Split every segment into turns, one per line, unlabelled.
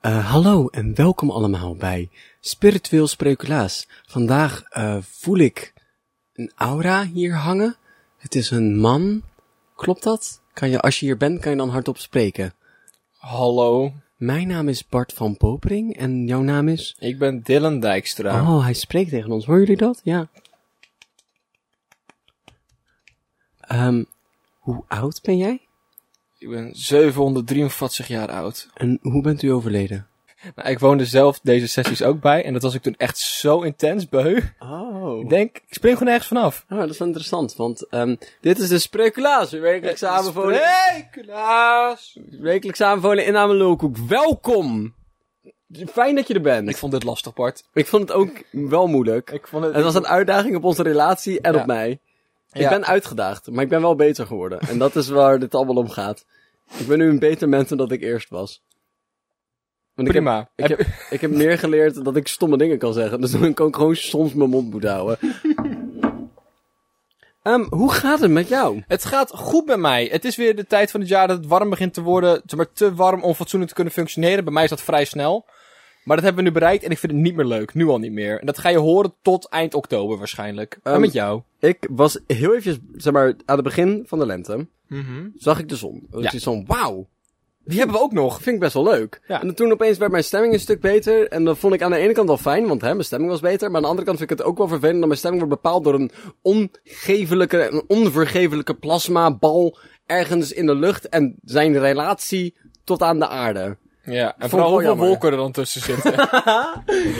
Eh, hallo en welkom allemaal bij Spiritueel Spreculaas. Vandaag eh, voel ik een aura hier hangen. Het is een man. Klopt dat? Kan je, als je hier bent, kan je dan hardop spreken.
Hallo,
Mijn naam is Bart van Popering en jouw naam is...
ik ben Dylan Dijkstra.
Oh, hij spreekt tegen ons. Horen jullie dat? Ja. Ehm, hoe oud ben jij?
Ik ben 743 jaar oud.
En hoe bent u overleden?
Nou, ik woonde zelf deze sessies ook bij en dat was ik toen echt zo intens beu.
Oh.
Ik denk, ik spring gewoon ergens vanaf.
Oh, dat is wel interessant, want ehm, dit is de Spreukelaars, uw wekelijkse aanbevolen,
Sprekelaars!
wekelijkse aanbevolen inname Lulkoek. Welkom! Fijn dat je er bent.
Ik
Ik,
vond dit lastig, Bart.
vond het ook wel moeilijk.
Ik vond het...
Het was een uitdaging op onze relatie en
Ja.
op mij. Ik
Ja.
ben uitgedaagd, maar ik ben wel beter geworden. En dat is waar dit allemaal om gaat. Ik ben nu een beter mens dan dat ik eerst was. Want ik heb-
Prima.
ik heb, ik heb meer geleerd dat ik stomme dingen kan zeggen. Dus dan kan ik gewoon soms mijn mond moeten houden. Ehm, hoe gaat het met jou?
Het gaat goed bij mij. Het is weer de tijd van het jaar dat het warm begint te worden. Zeg maar te warm om fatsoenlijk te kunnen functioneren. Bij mij is dat vrij snel. Maar dat hebben we nu bereikt en ik vind het niet meer leuk. Nu al niet meer. En dat ga je horen tot eind oktober waarschijnlijk. en
Ehm,
met jou?
Ik was heel eventjes, zeg maar, aan het begin van de lente,
mhm.
zag ik de zon. Dus
Ja.
ik zo'n, wauw,
Die hebben we ook nog.
vind ik best wel leuk.
Ja.
En toen opeens werd mijn stemming een stuk beter. En dat vond ik aan de ene kant wel fijn, want hè, mijn stemming was beter. Maar aan de andere kant vind ik het ook wel vervelend dat mijn stemming wordt bepaald door een ongevelijke, een onvergevelijke plasmabal ergens in de lucht. En zijn relatie tot aan de aarde.
Ja, en
ik wel
vooral hoeveel
jammer.
wolken er dan tussen zitten.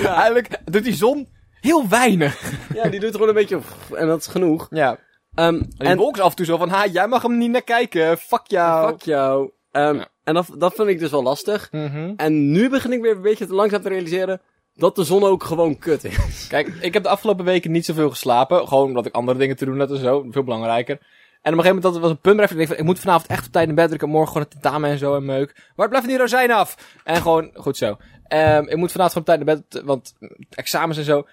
Eigenlijk doet die zon heel weinig.
Ja, die doet gewoon een beetje, en dat is genoeg.
Ja.
Ehm,
En die wolk is af en toe zo van, ha, jij mag hem niet naar kijken. Fuck jou.
fuck jou. Ehm,
Ja.
En dat, dat vind ik dus wel lastig.
Mhm.
En nu begin ik weer een beetje te langzaam te realiseren dat de zon ook gewoon kut is.
Kijk, ik heb de afgelopen weken niet zoveel geslapen. Gewoon omdat ik andere dingen te doen had en zo. Veel belangrijker. En op een gegeven moment dat was een punt bereikt. Ik denk van, ik moet vanavond echt op tijd naar bed. want Ik heb morgen gewoon een tentamen en zo en meuk. Waar blijven die rozijnen af? En gewoon, goed zo. Ehm, ik moet vanavond gewoon op tijd naar bed, want examens en zo.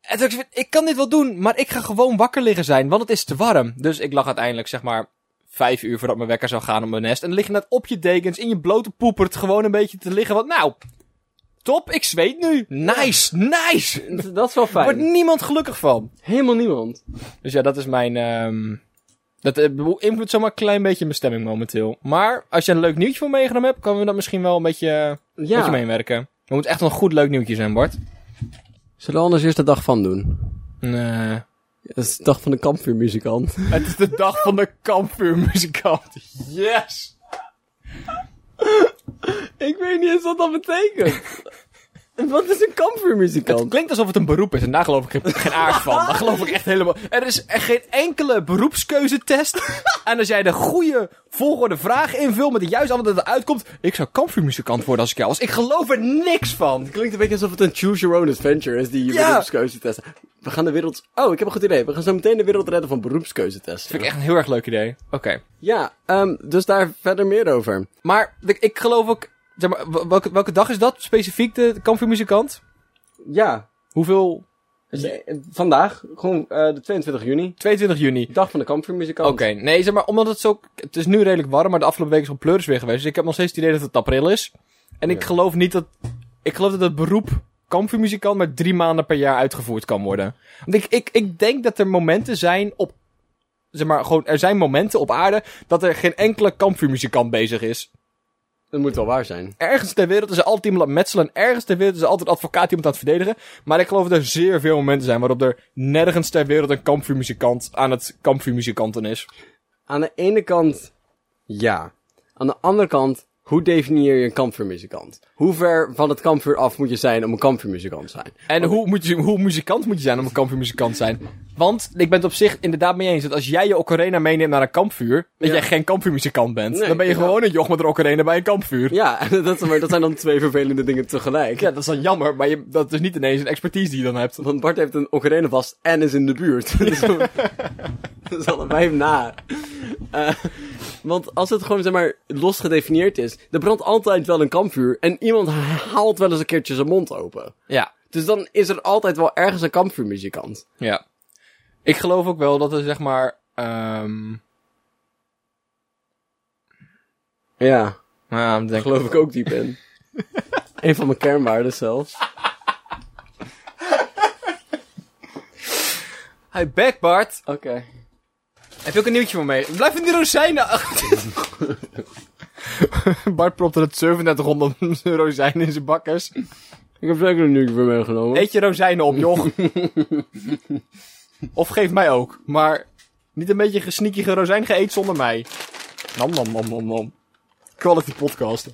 En toen, dacht ik, ik kan dit wel doen, maar ik ga gewoon wakker liggen zijn, want het is te warm. Dus ik lag uiteindelijk, zeg maar, vijf uur voordat mijn wekker zou gaan op mijn nest. En dan lig je net op je dekens, in je blote poepert, gewoon een beetje te liggen. Want nou, top, ik zweet nu. Nice, nice.
Dat is wel
Er wordt
fijn.
niemand gelukkig van.
Helemaal niemand.
Dus ja, dat is mijn. ehm dat eh, beïnvloedt zomaar een klein beetje mijn stemming momenteel. Maar als je een leuk nieuwtje voor meegenomen hebt, kunnen we dat misschien wel een beetje, eh,
Ja.
beetje meewerken. We moeten echt wel een goed leuk nieuwtje zijn, Bart.
Zullen we anders eerst de dag van doen?
Nee.
Dat is de dag van de kampvuurmuzikant.
Het is de dag van de kampvuurmuzikant. Yes!
ik weet niet eens wat dat betekent. wat is een
Het
kampvuurmuzikant?
klinkt alsof het een beroep is en daar geloof ik geen- geen aard van. Daar geloof ik echt helemaal. Er is echt geen enkele beroepskeuzetest. En als jij de goede volgorde vraag invult met de juiste antwoord dat eruit komt. Ik zou kampvuurmuzikant worden als ik jou was. Ik geloof er niks van.
Het klinkt een beetje alsof het een choose your own adventure is die je
Ja.
beroepskeuze testen. We gaan de wereld... Oh, ik heb een goed idee. We gaan zo meteen de wereld redden van beroepskeuzetesten.
Vind ik echt een heel erg leuk idee. Oké.
Ja, ehm, dus daar verder meer over.
Maar de- ik geloof ook. Zeg maar, w- welke, welke dag is dat specifiek, de kampvuurmuzikant?
Ja,
Hoeveel?
dus, eh, vandaag, gewoon eh, de 22 juni.
22 juni.
Dag van de kampvuurmuzikant.
Oké, nee, zeg maar, omdat het zo. Het is nu redelijk warm, maar de afgelopen weken is al pleuris weer geweest. Dus ik heb nog steeds het idee dat het april is. En ik
Ja.
geloof niet dat. Ik geloof dat het beroep kampvuurmuzikant maar drie maanden per jaar uitgevoerd kan worden. Want ik, ik, ik denk dat er momenten zijn op. Zeg maar, gewoon, er zijn momenten op aarde dat er geen enkele kampvuurmuzikant bezig is.
Dat moet wel waar zijn.
Ergens ter wereld is er altijd iemand aan het metselen. En ergens ter wereld is er altijd een advocaat die iemand aan het verdedigen. Maar ik geloof dat er zeer veel momenten zijn waarop er nergens ter wereld een kampvuurmuzikant aan het kampvuurmuzikanten is.
Aan de ene kant, ja. Aan de andere kant, hoe definieer je een kampvuurmuzikant? Hoe ver van het kampvuur af moet je zijn om een kampvuurmuzikant te zijn?
En hoe, moet je, hoe muzikant moet je zijn om een kampvuurmuzikant te zijn? Want ik ben het op zich inderdaad mee eens dat als jij je ocarena meeneemt naar een kampvuur, dat
Ja.
jij geen kampvuurmuzikant bent.
Nee,
dan ben je
inderdaad.
gewoon een joch met een ocarena bij een kampvuur. Ja,
Ja, dat, maar dat zijn dan twee vervelende dingen tegelijk.
dat is dan jammer, maar je, dat is niet ineens een expertise die je dan hebt.
Want Bart heeft een ocarina vast en is in de buurt. dus we- dus allebei hem na. Eh, want als het gewoon, zeg maar, los gedefinieerd is... Er brandt altijd wel een kampvuur en iemand haalt wel eens een keertje zijn mond open.
Ja,
Dus dan is er altijd wel ergens een kampvuurmuzikant.
ja. Ik geloof ook wel dat er zeg maar. ehm
Ja,
nou, dan denk ik-
geloof ik ook diep in. Een van mijn kernwaarden zelfs.
Hij back, Bart.
Oké.
Heb je ook een nieuwtje voor mee? Blijf in die rozijnen. Bart propte het net rondom zijn rozijnen in zijn bakkers.
Ik heb zeker een nieuwtje voor meegenomen.
Eet je rozijnen op, joch. of geef mij ook. Maar niet een beetje gesneakige rozijn geëet zonder mij. Nam, nam, nam, nam, nam. Quality podcast.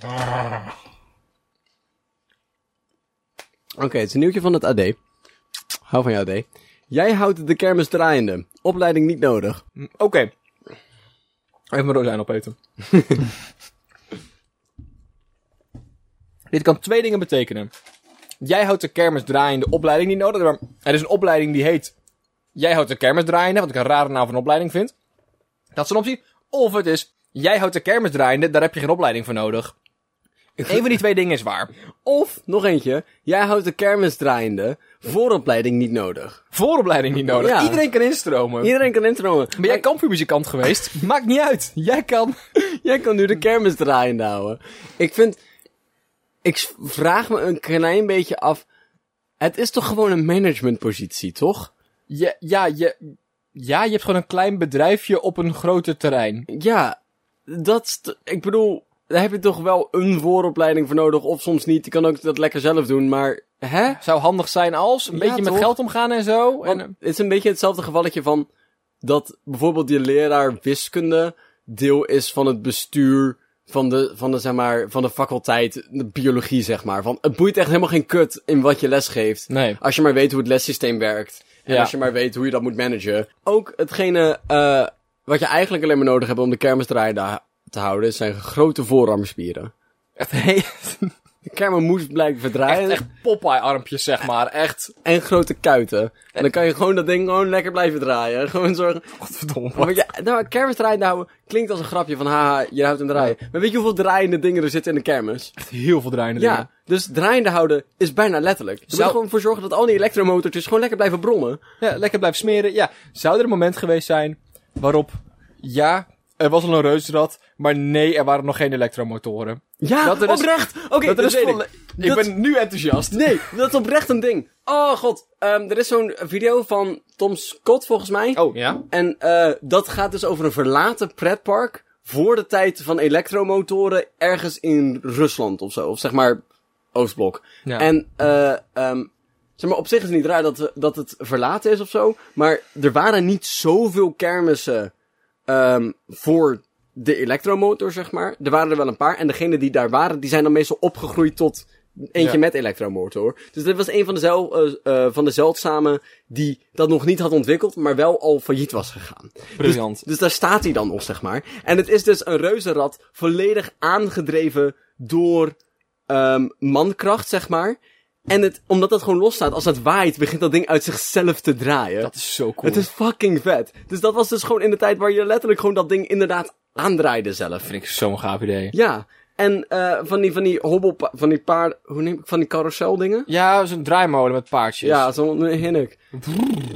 Oké, het is een nieuwtje van het AD. Hou van jou, AD. Jij houdt de kermis draaiende. Opleiding niet nodig.
Oké. Even mijn rozijn opeten. Dit kan twee dingen betekenen. Jij houdt de kermis draaiende opleiding niet nodig. Maar er is een opleiding die heet... Jij houdt de kermis draaiende, wat ik een rare naam van opleiding vind. Dat is een optie. Of het is... Jij houdt de kermis draaiende, daar heb je geen opleiding voor nodig. Een van die twee dingen is waar.
Of, nog eentje. Jij houdt de kermis draaiende. Vooropleiding niet nodig.
Vooropleiding niet nodig.
Ja.
Iedereen kan instromen.
Iedereen kan intromen.
Ben jij kampvuurmuzikant geweest? Maakt niet uit. Jij kan.
Jij kan nu de kermis draaiende houden. Ik vind... Ik s- vraag me een klein beetje af... Het is toch gewoon een managementpositie, toch?
Ja, ja, je, ja, je hebt gewoon een klein bedrijfje op een groter terrein.
Ja, dat... is t- Ik bedoel, daar heb je toch wel een vooropleiding voor nodig. Of soms niet. Je kan ook dat lekker zelf doen, maar... Hè?
Zou handig zijn als, een
Ja,
beetje met
toch?
geld omgaan en zo.
Want
En,
het is een beetje hetzelfde gevalletje van dat bijvoorbeeld die leraar wiskunde deel is van het bestuur van de, van de, zeg maar, van de faculteit de biologie, zeg maar. Van, het boeit echt helemaal geen kut in wat je les geeft.
nee.
Als je maar weet hoe het lessysteem werkt. En
Ja.
als je maar weet hoe je dat moet managen. Ook hetgene eh, wat je eigenlijk alleen maar nodig hebt om de kermis draaiende te houden, zijn grote voorarmspieren.
Echt, he-
De kermen moest blijven verdraaien
echt, echt Popeye-armpjes, zeg maar. Echt.
en grote kuiten. En dan kan je gewoon dat ding gewoon lekker blijven draaien. Gewoon zorgen,
Godverdomme.
Maar ja, nou, kermis draaiende houden klinkt als een grapje van haha, je houdt hem draaien. Maar weet je hoeveel draaiende dingen er zitten in de kermis?
Echt heel veel draaiende
Ja,
dingen.
dus draaiende houden is bijna letterlijk. Je moet
Zou-
er gewoon voor zorgen dat al die elektromotortjes gewoon lekker blijven brommen.
Ja, lekker blijven smeren. Ja, zou er een moment geweest zijn waarop, ja, er was al een reusrad, maar nee, er waren nog geen elektromotoren.
Ja,
Dat er dus-
oprecht! Oké,
dat
dat,
er dus
weet
volle-
ik.
Ik
Dat-
ben nu enthousiast.
Nee, dat is oprecht een ding. Oh god, Ehm, er is zo'n video van Tom Scott volgens mij.
Oh, ja?
En eh, dat gaat dus over een verlaten pretpark voor de tijd van elektromotoren ergens in Rusland of zo. Of zeg maar Oostblok.
Ja.
En eh, ehm, zeg maar, op zich is het niet raar dat, dat het verlaten is of zo. Maar er waren niet zoveel kermissen ehm, voor de elektromotor, zeg maar. Er waren er wel een paar. En degene die daar waren, die zijn dan meestal opgegroeid tot eentje
Ja.
met elektromotor. Dus dit was een van de, zel, eh, eh, van de zeldzame die dat nog niet had ontwikkeld, maar wel al failliet was gegaan.
Briljant.
Dus daar staat hij dan nog, zeg maar. En het is dus een reuzenrad volledig aangedreven door ehm, mankracht, zeg maar. En het, omdat dat gewoon los staat, als het waait, begint dat ding uit zichzelf te draaien.
Dat is zo cool.
Het is fucking vet. Dus dat was dus gewoon in de tijd waar je letterlijk gewoon dat ding inderdaad aandraaide zelf.
vind ik zo'n gaaf idee.
Ja. En eh, van die, van die hobbel, van die paard, hoe neem ik, van die carousel dingen?
Ja, zo'n draaimolen met paardjes.
Ja, zo'n hinnik.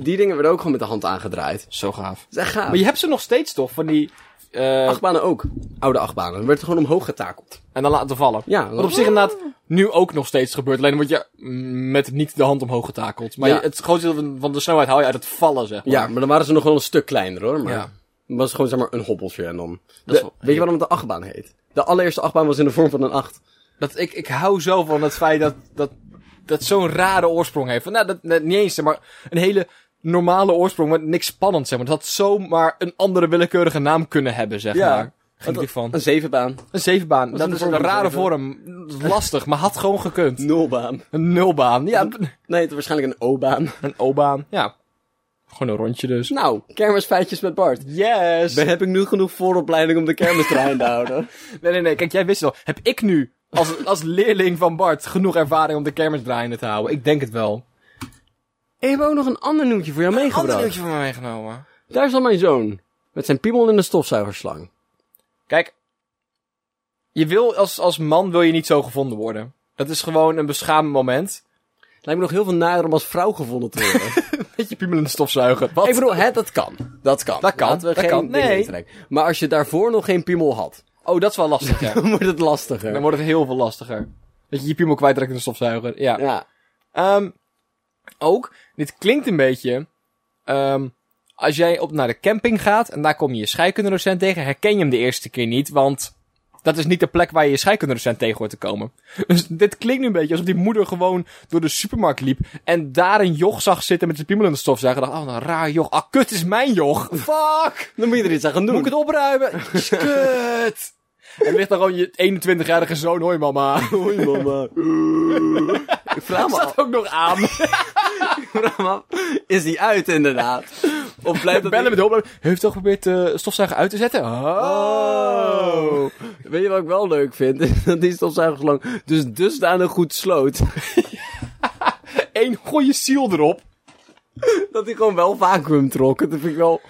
Die dingen werden ook gewoon met de hand aangedraaid. Dat
Zo gaaf.
is echt gaaf.
Maar je hebt ze nog steeds toch, van die... eh,
Achtbanen ook. Oude achtbanen. Werd gewoon omhoog getakeld.
en dan laten vallen.
Ja.
Wat op zich inderdaad nu ook nog steeds gebeurt. Alleen word je mm, met niet de hand omhoog getakeld. Maar
Ja.
je- het grootste deel van- van de snelheid haal je uit het vallen, zeg maar.
Ja, maar dan waren ze nog wel een stuk kleiner hoor. Maar
Ja.
het was gewoon zeg maar een hobbeltje en dan...
Dat
De-
is wel-
Weet je waarom het de achtbaan heet? De allereerste achtbaan was in de vorm van een acht.
Dat, ik, ik hou zo van het feit dat dat, dat zo'n rare oorsprong heeft. Van, nou, dat, dat niet eens, zeg maar een hele normale oorsprong met niks spannends, zeg maar. Dat had zomaar een andere willekeurige naam kunnen hebben, zeg
Ja.
maar. Ging ik van.
Een zevenbaan.
Een zevenbaan, dat
een
is
vorm
een
van
rare
zeven?
vorm. Lastig, maar had gewoon gekund.
Nulbaan.
Een nulbaan, ja.
Nee, het is waarschijnlijk een O-baan.
Een O-baan, ja. Gewoon een rondje dus.
Nou, kermisfeitjes met Bart.
Yes!
Ben, heb ik nu genoeg vooropleiding om de kermistrein te houden?
Nee, nee, nee. Kijk, jij wist het al. Heb ik nu, als, als leerling van Bart, genoeg ervaring om de kermis draaiende te houden? Ik denk het wel.
Ik heb ook nog een ander nieuwtje voor jou meegebracht.
van mij meegenomen.
Daar is al mijn zoon. Met zijn piemel in de stofzuigerslang.
Kijk, je wil als, als man wil je niet zo gevonden worden. Dat is gewoon een beschaamd moment.
Lijkt me nog heel veel nader om als vrouw gevonden te worden.
Met je piemel in de stofzuiger. Wat?
Ik bedoel, hè, dat kan. Dat kan.
Dat kan,
Laten we
dat
geen
kan.
dingen
Nee.
intrekken. Maar als je daarvoor nog geen piemel had,
Oh, dat is wel lastig, ja.
dan wordt het lastiger.
Dan wordt het heel veel lastiger. Dat je je piemel kwijtraakt in de stofzuiger. Ja.
Ja.
Ehm, ook, dit klinkt een beetje... ehm, als jij op, naar de camping gaat en daar kom je je scheikundedocent tegen... herken je hem de eerste keer niet, want... Dat is niet de plek waar je je scheikundedocent tegen hoort te komen. Dus dit klinkt nu een beetje alsof die moeder gewoon door de supermarkt liep... en daar een joch zag zitten met zijn piemel in de stofzuiger... en dacht, oh, een raar joch. Ah, kut, is mijn joch. Fuck!
Dan moet je er iets aan gaan doen.
Moet ik het opruimen? Kut! En er ligt dan gewoon je 21-jarige zoon, hoi mama.
Hoi mama. ik vraag me, af,
Staat ook nog aan.
ik vraag me af, is die uit inderdaad? Of blijft dat...
Bellen met de hulp. Heeft toch geprobeerd de stofzuiger uit te zetten? Oh.
Oh. Weet je wat ik wel leuk vind? Dat die stofzuiger lang dus dusdanig goed sloot.
Eén goede ziel erop.
Dat hij gewoon wel vacuüm trok. Dat vind ik wel...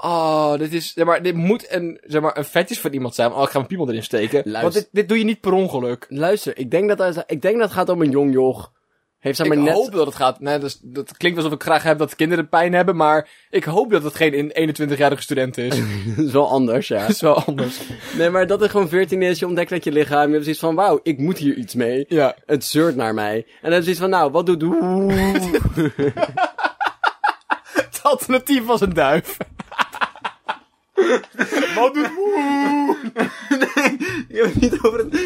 Oh, dit is, zeg maar, dit moet een, zeg maar, een vetjes van iemand zijn. Oh, ik ga mijn piemel erin steken.
Luister.
Want dit, dit doe je niet per ongeluk.
Luister, ik denk dat, hij, ik denk dat het gaat om een jong joch. Heeft zij
Ik
maar net...
hoop dat het gaat. Nee, dat, is- dat klinkt alsof ik graag heb dat kinderen pijn hebben, maar ik hoop dat het geen in- 21-jarige student is.
Dat is wel anders, ja.
dat is wel anders.
Nee, maar dat er gewoon 14 is, je ontdekt dat je lichaam, je hebt zoiets van, wauw, ik moet hier iets mee.
Ja.
Het zeurt naar mij. En dan is zoiets van, nou, wat doet... doe-
Het alternatief was een duif. Wat doet
Je hebt het niet over het...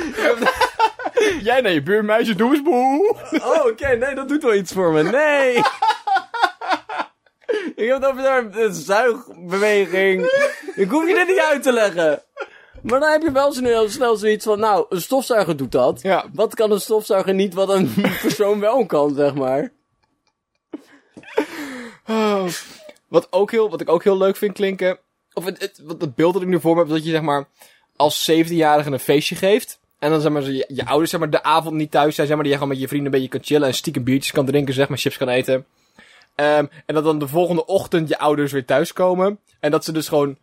Jij naar je buurmeisje, doe eens boe.
Oh, oké, nee, dat doet wel iets voor me. Nee! ik heb het over daar een zuigbeweging. Ik hoef je dit niet uit te leggen. Maar dan heb je wel zo heel snel zoiets van, nou, een stofzuiger doet dat.
Ja.
Wat kan een stofzuiger niet wat een persoon wel kan, zeg maar.
Wat, ook heel, wat ik ook heel leuk vind klinken. Of het, het, wat het beeld dat ik nu voor me heb, is dat je zeg maar als 17-jarige een feestje geeft. En dan zeg maar zo je, je ouders zeg maar de avond niet thuis zijn. Zeg maar dat je gewoon met je vrienden een beetje kan chillen. En stiekem biertjes kan drinken, zeg maar chips kan eten. Ehm, en dat dan de volgende ochtend je ouders weer thuiskomen. En dat ze dus gewoon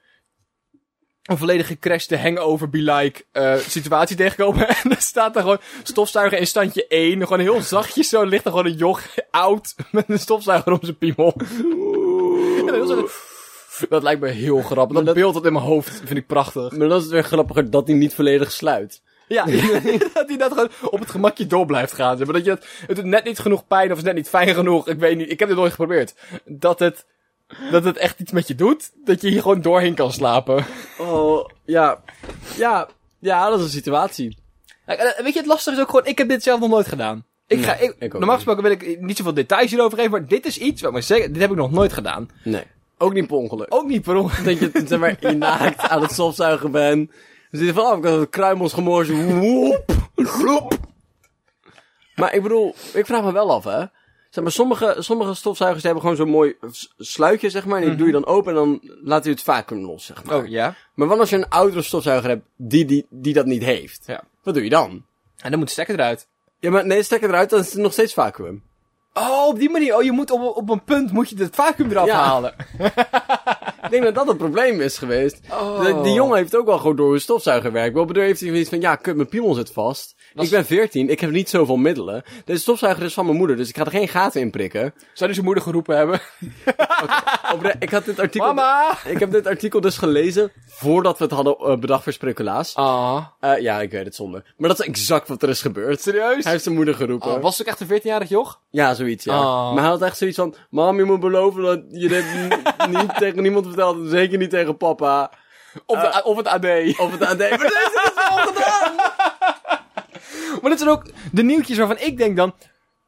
een volledig gecrashte hangover be like eh, situatie tegenkomen. En dan staat er gewoon stofzuiger in standje 1. Gewoon heel zachtjes zo ligt er gewoon een joch oud met een stofzuiger om zijn piemel. En dan heel zo- Dat lijkt me heel grappig. Dat,
dat-
beeld dat in mijn hoofd vind ik prachtig.
Maar dan is het weer grappiger dat hij niet volledig sluit.
Ja, dat hij dat gewoon op het gemakje door blijft gaan. Zeg Maar dat je dat, het doet net niet genoeg pijn of is net niet fijn genoeg. Ik weet niet, ik heb dit nooit geprobeerd. Dat het, dat het echt iets met je doet. Dat je hier gewoon doorheen kan slapen.
Oh, ja. Ja, ja, dat is een situatie.
Ja, en, eh, Weet je, het lastige is ook gewoon, ik heb dit zelf nog nooit gedaan. Ik ga, ik,
ik ook
normaal gesproken wil ik niet zoveel details hierover geven, maar dit is iets, wat ik maar zeggen, dit heb ik nog nooit gedaan.
Nee. Ook niet per ongeluk.
Ook niet per ongeluk.
Dat je, zeg maar, je naakt aan het stofzuigen bent. Dus je van, oh, ik had wat kruimels gemorsen. Woep, roep. Maar ik bedoel, ik vraag me wel af, hè. Zeg maar, sommige, sommige stofzuigers hebben gewoon zo'n mooi s- sluitje, zeg maar. En die doe je dan open en dan laat hij het vacuüm los, zeg maar.
Mhm. Oh, ja.
Maar wat als je een oudere stofzuiger hebt die, die, die dat niet heeft?
Ja.
Wat doe je dan?
En dan moet de stekker eruit.
Ja, maar nee, stek het eruit, dan is het nog steeds vacuüm.
Oh, op die manier. Oh, je moet op, op een punt moet je het vacuüm eraf
Ja.
halen.
Ik denk dat dat het probleem is geweest.
Oh.
De- die jongen heeft ook wel gewoon door hoe stofzuiger werkt. Wel bedoel heeft hij zoiets van, ja, kut, mijn piemel zit vast. Ik
Dat is-
ben 14, ik heb niet zoveel middelen. Deze stofzuiger is van mijn moeder, dus ik ga er geen gaten in prikken.
Zou dus je moeder geroepen hebben?
Opre- ik had dit artikel...
Mama!
Ik heb dit artikel dus gelezen voordat we het hadden eh, bedacht voor Sprikkelaars.
Ah.
Eh, ja, ik weet het zonde. Maar dat is exact wat er is gebeurd.
Serieus?
Hij heeft zijn moeder geroepen.
Oh, was het ook echt een 14-jarig joch?
Ja, zoiets, ja.
Oh.
Maar hij had echt zoiets van... Mam, je moet beloven dat je dit n- niet tegen niemand vertelt. en Zeker niet tegen papa.
Of, de, of het AD.
Of het aan de... Maar deze is wel gedaan!
Maar dat zijn ook de nieuwtjes waarvan ik denk dan...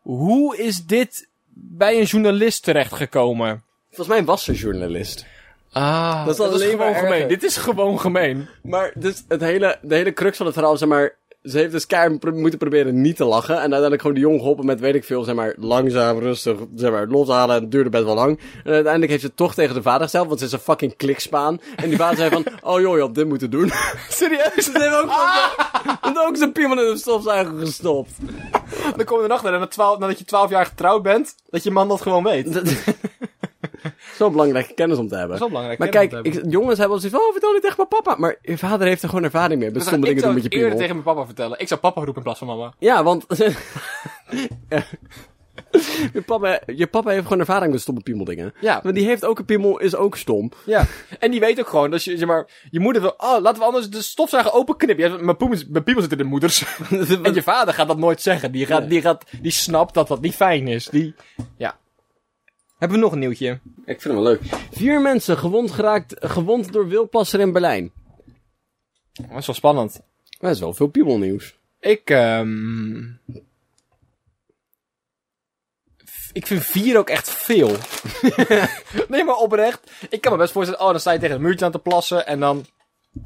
Hoe is dit bij een journalist terechtgekomen?
Volgens mij was ze journalist.
Ah, dat is,
alleen maar
gewoon
erger.
gemeen. Dit is gewoon gemeen.
Maar dus het hele, de hele crux van het verhaal, zeg maar... Ze heeft dus keihard pro- moeten proberen niet te lachen. En uiteindelijk gewoon de jong geholpen met, weet ik veel, zeg maar... Langzaam, rustig, zeg maar, loshalen. Het duurde best wel lang. En uiteindelijk heeft ze het toch tegen de vader gesteld. Want ze is een fucking klikspaan. En die vader zei van... Oh joh, je had dit moeten doen.
Serieus?
Ze hebben ook, ah! ook zijn piemel in de stofzuiger gestopt.
Dan kom je erachter en na 12 nadat je 12 jaar getrouwd bent, dat je man dat gewoon weet. Dat
Dat is wel belangrijke kennis om te hebben.
is wel belangrijk.
maar kijk, ik- jongens hebben al zoiets van, oh, vertel niet tegen mijn papa. Maar je vader heeft er gewoon ervaring mee. Met sommige dingen doen met je
eerder
piemel.
tegen mijn papa vertellen. Ik zou papa roepen in plaats van mama.
Ja, want... Je papa, je papa heeft gewoon ervaring met stomme piemeldingen.
Ja.
Want die heeft ook een piemel, is ook stom.
Ja, en die weet ook gewoon dat je, zeg maar, je moeder wil, oh, laten we anders de stofzuiger openknippen. Ja, mijn, poemels- mijn piemel zitten in de moeders. en je vader gaat dat nooit zeggen. Die, gaat,
Nee.
die, gaat, die snapt dat dat niet fijn is. Die, ja. Hebben we nog een nieuwtje?
Ik vind hem wel leuk. Vier mensen gewond geraakt, gewond door wilplasser in Berlijn.
Dat is wel spannend.
Dat is wel veel piemelnieuws.
Ik, ehm v- Ik vind vier ook echt veel. nee, maar oprecht. Ik kan me best voorstellen, oh, dan sta je tegen het muurtje aan te plassen en dan...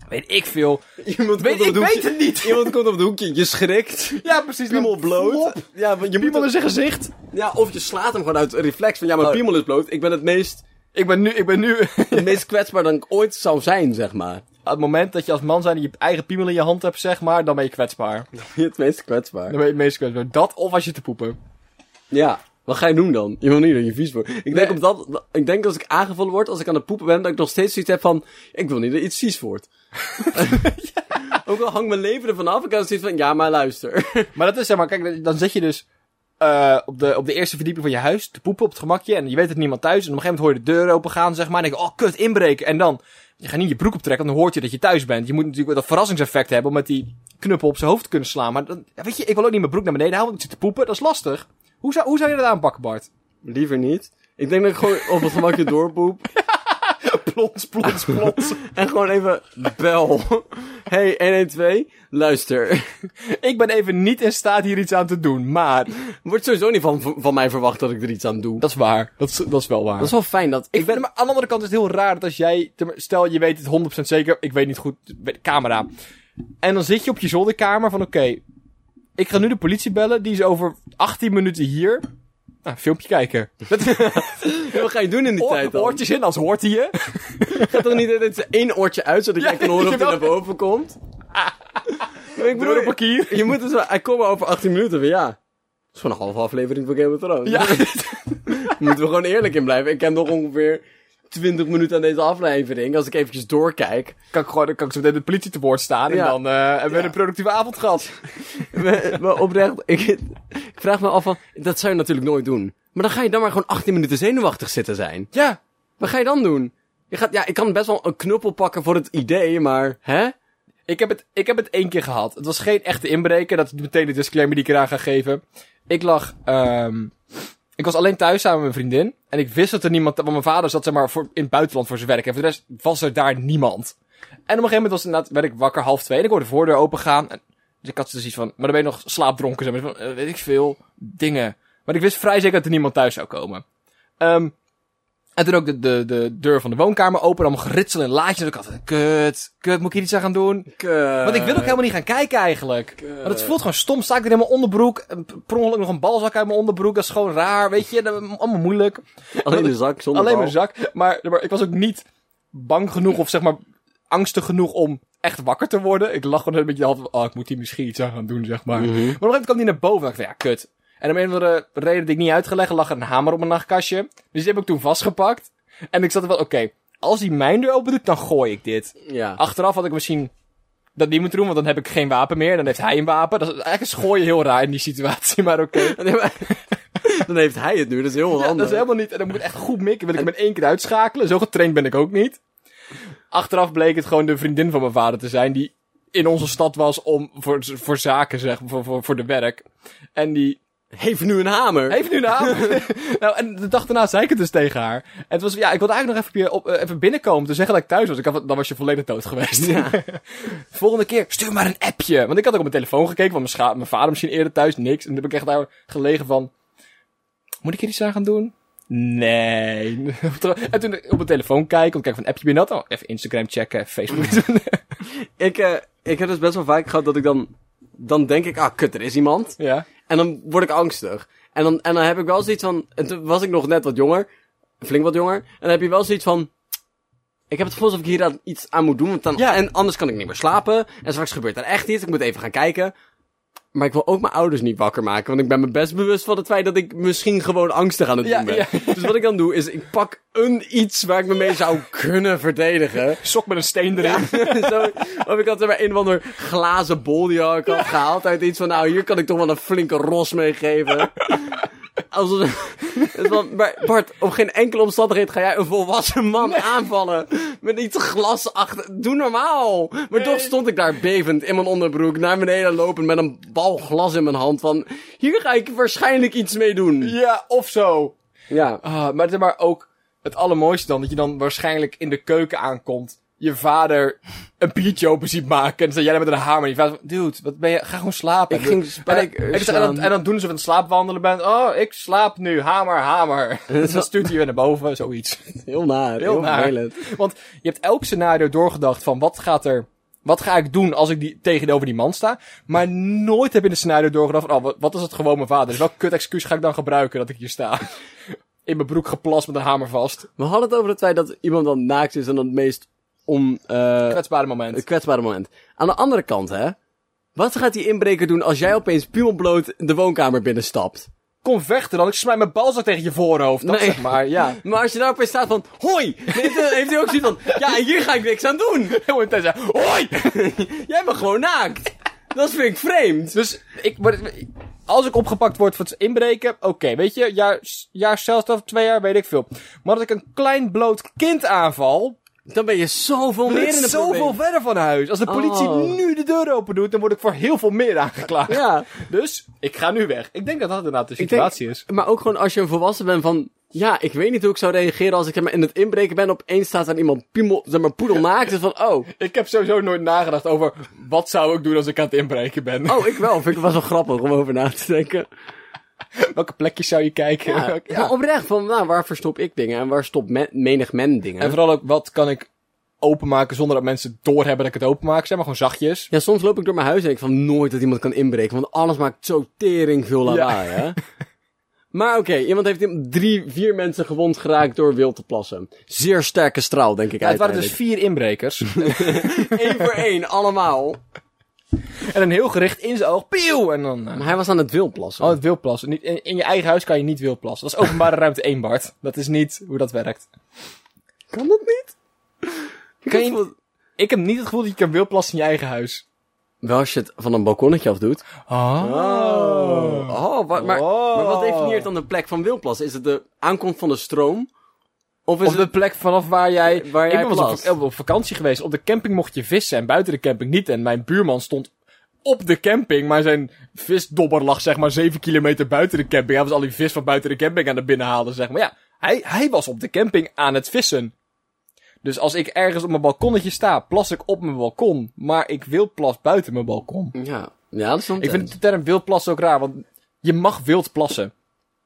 Weet ik veel.
Iemand
Weet, ik weet het niet.
Iemand komt op het hoekje, je schrikt.
Ja, precies. dan
Piemel bloot.
flop.
Ja, want je moet
Piemel in zijn gezicht.
ja, of je slaat hem gewoon uit een reflex van ja, mijn
Oh.
piemel is bloot. Ik ben het meest,
Ik ben nu, ik ben nu.
het meest kwetsbaar dan ik ooit zou zijn, zeg maar.
het moment dat je als man zijn je eigen piemel in je hand hebt, zeg maar, dan ben je kwetsbaar.
Het meest kwetsbaar.
Dan ben je het meest kwetsbaar. Dat of als je te poepen.
Ja. Wat ga je doen dan? Je wil niet dat je vies wordt. Ik denk,
Nee.
op dat, ik denk als ik aangevallen word, als ik aan het poepen ben, dat ik nog steeds zoiets heb van, ik wil niet dat iets vies wordt. Ook al hangt mijn leven ervan af, ik had zoiets van, ja, maar luister.
Maar dat is zeg maar, kijk, dan zit je dus eh, op, de, op de eerste verdieping van je huis te poepen op het gemakje. En je weet dat niemand thuis is. En op een gegeven moment hoor je de deur open gaan, zeg maar. En dan denk je, oh kut, inbreken. En dan, je gaat niet je broek optrekken, want dan hoort je dat je thuis bent. Je moet natuurlijk dat verrassingseffect hebben om met die knuppel op zijn hoofd te kunnen slaan. Maar dan, ja, weet je, ik wil ook niet mijn broek naar beneden halen, want ik zit te poepen. Dat is lastig. Hoe zou, hoe zou je dat aanpakken, Bart?
Liever niet. Ik denk dat ik gewoon op het gemakje doorpoep
Plons, plons, plons.
en gewoon even bel. Hey, 112, luister.
Ik ben even niet in staat hier iets aan te doen, maar...
Wordt sowieso niet van, van mij verwacht dat ik er iets aan doe.
Dat is waar. Dat is, dat is wel waar.
Dat is wel fijn dat
ik ben, maar aan de andere kant is het heel raar dat als jij... te- Stel, je weet het 100% zeker. Ik weet niet goed. weet- Camera. En dan zit je op je zolderkamer van... Oké, ik ga nu de politie bellen. Die is over 18 minuten hier. Nou, filmpje kijken.
Wat ga je doen in die tijd
Oor,
dan?
oortjes in, als hoort hij je.
Gaat toch niet dat één oortje uit, zodat
Ja,
jij kan horen of hij
jawel.
naar boven komt? Maar ik
Door
bedoel,
een parkier.
je moet dus wel... Hij komt maar over 18 minuten weer, ja. Dat is gewoon een halve aflevering van Game of Thrones.
Ja.
Daar moeten we gewoon eerlijk in blijven. Ik heb nog ongeveer 20 minuten aan deze aflevering, als ik eventjes doorkijk.
kan ik gewoon, dan kan ik zo meteen de politie te woord staan. En
Ja.
dan eh, hebben we een productieve avond gehad.
Maar- maar oprecht, ik, ik vraag me af van... Dat zou je natuurlijk nooit doen. Maar dan ga je dan maar gewoon 18 minuten zenuwachtig zitten zijn.
Ja.
Wat ga je dan doen? Je gaat, ja, ik kan best wel een knuppel pakken voor het idee, maar... Hè?
Ik heb, het, ik heb het één keer gehad. Het was geen echte inbreker. Dat is meteen de disclaimer die ik eraan ga geven. Ik lag... ehm, ik was alleen thuis samen met mijn vriendin. En ik wist dat er niemand... Want mijn vader zat zeg maar, voor, in het buitenland voor zijn werk. En voor de rest was er daar niemand. En op een gegeven moment was het inderdaad, werd ik wakker half twee. En ik hoorde de voordeur opengaan. En, dus ik had dus iets van... Maar dan ben je nog slaapdronken. Zeg maar, van, eh, weet ik veel. Dingen. Maar ik wist vrij zeker dat er niemand thuis zou komen. Ehm, en toen ook de, de, de deur van de woonkamer open. Allemaal geritsel en laadjes. En ik had kut, kut, moet ik hier iets aan gaan doen?
eh,
Want ik wil ook helemaal niet gaan kijken eigenlijk. Want het voelt gewoon stom. Sta ik er in mijn onderbroek. eh, Per ongeluk nog een balzak uit mijn onderbroek. Dat is gewoon raar, weet je. Dat, allemaal moeilijk.
Alleen de zak zonder
Alleen
bal.
mijn zak. Maar, maar ik was ook niet bang genoeg of zeg maar angstig genoeg om echt wakker te worden. Ik lag gewoon een beetje half... Oh, ik moet hier misschien iets aan gaan doen, zeg maar. Maar op een gegeven moment kwam die naar boven. En ik dacht, ja, kut. En om een of andere reden die ik niet uitgelegd lag er een hamer op mijn nachtkastje. Dus die heb ik toen vastgepakt. En ik zat er wel, oké, als die mijn deur open doet, dan gooi ik dit.
Ja.
Achteraf had ik misschien dat niet moeten doen, want dan heb ik geen wapen meer. Dan heeft hij een wapen. Dat is eigenlijk is gooien heel raar in die situatie, maar oké.
Nee, maar- Dan heeft hij het nu, dat is heel
Ja, dat
handig.
is helemaal niet. En dan moet ik echt goed mikken. Wil ik hem in één keer uitschakelen. Zo getraind ben ik ook niet. Achteraf bleek het gewoon de vriendin van mijn vader te zijn. Die in onze stad was om voor, voor zaken, zeg, voor, voor, voor de werk. En die
Heeft nu een hamer.
heeft nu een naam. nou, en de dag daarna zei ik het dus tegen haar. En het was, ja, ik wilde eigenlijk nog even, op je- op, eh, even binnenkomen. Te zeggen dat ik thuis was. Ik had, dan was je volledig dood geweest.
Ja.
Volgende keer, stuur maar een appje. Want ik had ook op mijn telefoon gekeken, want mijn, scha- mijn vader misschien eerder thuis, niks. En toen heb ik echt daar gelegen van, moet ik hier iets aan gaan doen? Nee. en toen op mijn telefoon kijken, want kijk van appje binnen had. Oh, even Instagram checken, Facebook.
Ik, eh, ik heb dus best wel vaak gehad dat ik dan... Dan denk ik, ah, kut, er is iemand.
ja.
En dan word ik angstig. En dan, en dan heb ik wel zoiets van... en Toen was ik nog net wat jonger. Flink wat jonger. En dan heb je wel zoiets van... Ik heb het gevoel alsof ik hier aan- iets aan moet doen. Want dan,
Ja.
En anders kan ik niet meer slapen. En straks gebeurt er echt iets. Ik moet even gaan kijken. Maar ik wil ook mijn ouders niet wakker maken. Want ik ben me best bewust van het feit dat ik misschien gewoon angstig aan het
Ja,
doen ben.
ja.
Dus wat ik dan doe is ik pak een iets waar ik me mee zou kunnen verdedigen.
Sok met een steen erin.
Zo, of ik had er maar een of ander glazen bol die ik had gehaald uit iets van, nou, hier kan ik toch wel een flinke ros mee geven. Alsof, het was- maar Bart, op geen enkele omstandigheid ga jij een volwassen man aanvallen. Met iets glas achter. Doe normaal. Maar toch stond ik daar bevend in mijn onderbroek. Naar beneden lopend met een bal glas in mijn hand. Van, hier ga ik waarschijnlijk iets mee doen.
Ja, of zo.
Ja.
Ah, maar, het is maar ook het allermooiste dan, dat je dan waarschijnlijk in de keuken aankomt. Je vader een biertje open ziet maken. En dan staat jij daar met een hamer. En je vader van, dude, wat ben je? Ga gewoon slapen.
Ik ging
En dan-
spijkers
en, dan- en, dan,
slaan.
en dan doen ze van het slaapwandelen bent. Oh, ik slaap nu. Hamer, hamer. Dus dan stuurt hij je naar boven, zoiets.
Heel naar.
Heel
Heel,
naar.
vervelend.
Want je hebt elk scenario doorgedacht van wat gaat er. Wat ga ik doen als ik die, tegenover die man sta? Maar nooit heb je een scenario doorgedacht van, oh, wat, wat is het gewoon mijn vader? Dus welk kut excuus ga ik dan gebruiken dat ik hier sta? In mijn broek geplast met een hamer vast.
We hadden het over het feit dat iemand dan naakt is en dan het meest om, eh,
Kwetsbare
het
moment.
kwetsbare moment. Aan de andere kant, hè. Wat gaat die inbreker doen als jij opeens pumelbloot de woonkamer binnenstapt?
Kom vechten dan, ik smijt mijn balzak tegen je voorhoofd. Dat
Nee.
zeg maar, ja.
Maar als je daar opeens staat van, hoi! Heeft, eh, heeft hij ook zoiets van, ja, hier ga ik niks aan doen.
Heel intens, ja. Hoi!
Jij bent gewoon naakt. Dat vind ik vreemd.
Dus ik, maar- als ik opgepakt word voor het inbreken, oké, weet je, jaar, jaar celstraf, twee jaar, weet ik veel. Maar dat ik een klein bloot kind aanval,
Dan ben je zoveel meer
ben
in
ik
de
zoveel
problemen.
verder van huis. Als de politie
Oh.
nu de deur open doet, dan word ik voor heel veel meer aangeklaagd.
Ja.
Dus, ik ga nu weg. Ik denk dat dat inderdaad de
Ik denk-
situatie is.
Maar ook gewoon als je een volwassen bent van... Ja, ik weet niet hoe ik zou reageren als ik in het inbreken ben. Opeens staat er iemand piemel, zeg maar, poedel naakt. Dus van, oh,
Ik heb sowieso nooit nagedacht over wat zou ik doen als ik aan het inbreken ben.
oh, ik wel. Vind ik het was wel grappig om over na te denken.
Welke plekjes zou je kijken?
Ja,
Welke-
Maar oprecht, van, nou, waar verstop ik dingen en waar stopt men- menig men dingen?
En vooral ook, wat kan ik openmaken zonder dat mensen doorhebben dat ik het openmaak? Zeg maar gewoon zachtjes.
Ja, soms loop ik door mijn huis en ik van nooit dat iemand kan inbreken, want alles maakt zo tering veel lawaai, hè? Maar oké, iemand heeft in- drie, vier mensen gewond geraakt door wild te plassen. Zeer sterke straal, denk ik
het waren dus
uiteindelijk.
vier inbrekers.
Eén voor één, allemaal.
en een heel gericht in zijn oog. Pieuw! En dan... eh,
Maar hij was aan het wild plassen.
Oh, het wilplassen. Niet, in, in je eigen huis kan je niet wilplassen. Dat is openbare ruimte 1, Bart. Dat is niet hoe dat werkt.
kan dat niet?
Kan je- Ik heb niet het gevoel dat je kan wilplassen in je eigen huis.
Wel als je het van een balkonnetje af doet.
Oh.
Oh, wa- maar,
Wow.
maar wat definieert dan de plek van wildplassen? Is het de aankomst van de stroom? Of is
Of de
het...
plek vanaf waar jij...
Eh, Waar jij
ik ben wel eens
plast.
op, op vakantie geweest. Op de camping mocht je vissen en buiten de camping niet. En mijn buurman stond op de camping. Maar zijn visdobber lag zeg maar 7 kilometer buiten de camping. Hij was al die vis van buiten de camping aan het binnenhalen zeg maar. Ja, hij, hij was op de camping aan het vissen. Dus als ik ergens op mijn balkonnetje sta, plas ik op mijn balkon. Maar ik wil plas buiten mijn balkon.
oh, Ja, ja, dat is
Ik vind de term wild plassen ook raar, want je mag wild plassen.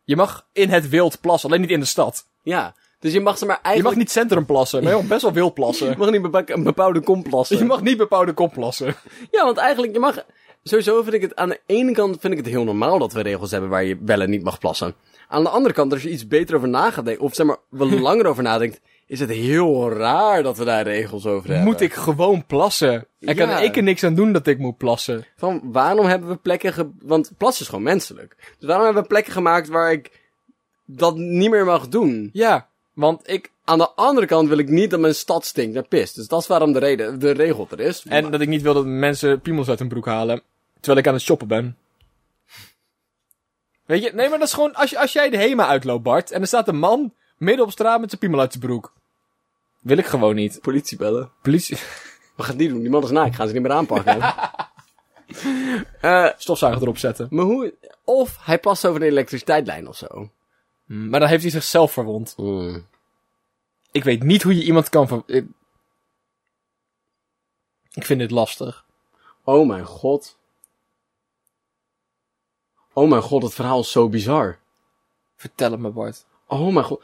Je mag in het wild plassen, alleen niet in de stad.
Ja, dus je mag ze maar eigenlijk...
Je mag niet centrum plassen, maar je mag best wel wild plassen.
Je mag niet bepa- een bepaalde kom plassen.
Je mag niet bepaalde kop plassen.
Ja, want eigenlijk, je mag... Sowieso vind ik het... Aan de ene kant vind ik het heel normaal dat we regels hebben waar je wel en niet mag plassen. Aan de andere kant, als je iets beter over na gaat denken... Of zeg maar, wel langer over nadenkt... Is het heel raar dat we daar regels over hebben.
Moet ik gewoon plassen? En kan
Ja.
ik er niks aan doen dat ik moet plassen?
Van, waarom hebben we plekken... Ge... Want plassen is gewoon menselijk. Dus waarom hebben we plekken gemaakt waar ik dat niet meer mag doen?
Ja, want ik...
Aan de andere kant wil ik niet dat mijn stad stinkt naar pis. Dus dat is waarom de, reden, de regel er is.
En dat ik niet wil dat mensen piemels uit hun broek halen, terwijl ik aan het shoppen ben. Weet je, nee, maar dat is gewoon... Als, je- als jij de HEMA uitloopt, Bart, en er staat een man midden op straat met zijn piemel uit zijn broek. Wil ik gewoon niet.
politie bellen.
Politie...
We gaan het niet doen. Die man is naakt. Gaan ze niet meer aanpakken. Eh,
Stofzuiger erop zetten.
maar hoe... Of hij past over de elektriciteitslijn of zo.
Mm, Maar dan heeft hij zichzelf verwond.
Hmm.
Ik weet niet hoe je iemand kan ver... Ik, ik vind dit lastig.
Oh mijn god. Oh mijn god, het verhaal is zo bizar.
Vertel het me, Bart.
Oh mijn god.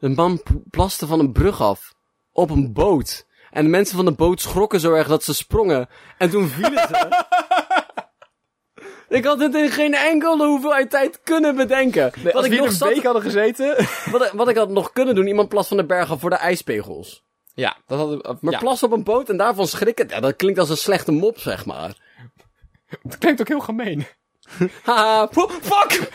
Een man p- plaste van een brug af. Op een boot. En de mensen van de boot schrokken zo erg dat ze sprongen. En toen vielen ze. Ik had dit in geen enkele hoeveelheid tijd kunnen bedenken.
Nee, als
ik
we hier
nog
een
zat-
week hadden gezeten...
Wat, ik- wat ik had nog kunnen doen, iemand plas van de berg af voor de ijspegels.
ja, dat hadden we...
Maar
ja.
plas op een boot en daarvan schrikken, ja, dat klinkt als een slechte mop, zeg maar.
Het klinkt ook heel gemeen.
Haha, poe- fuck!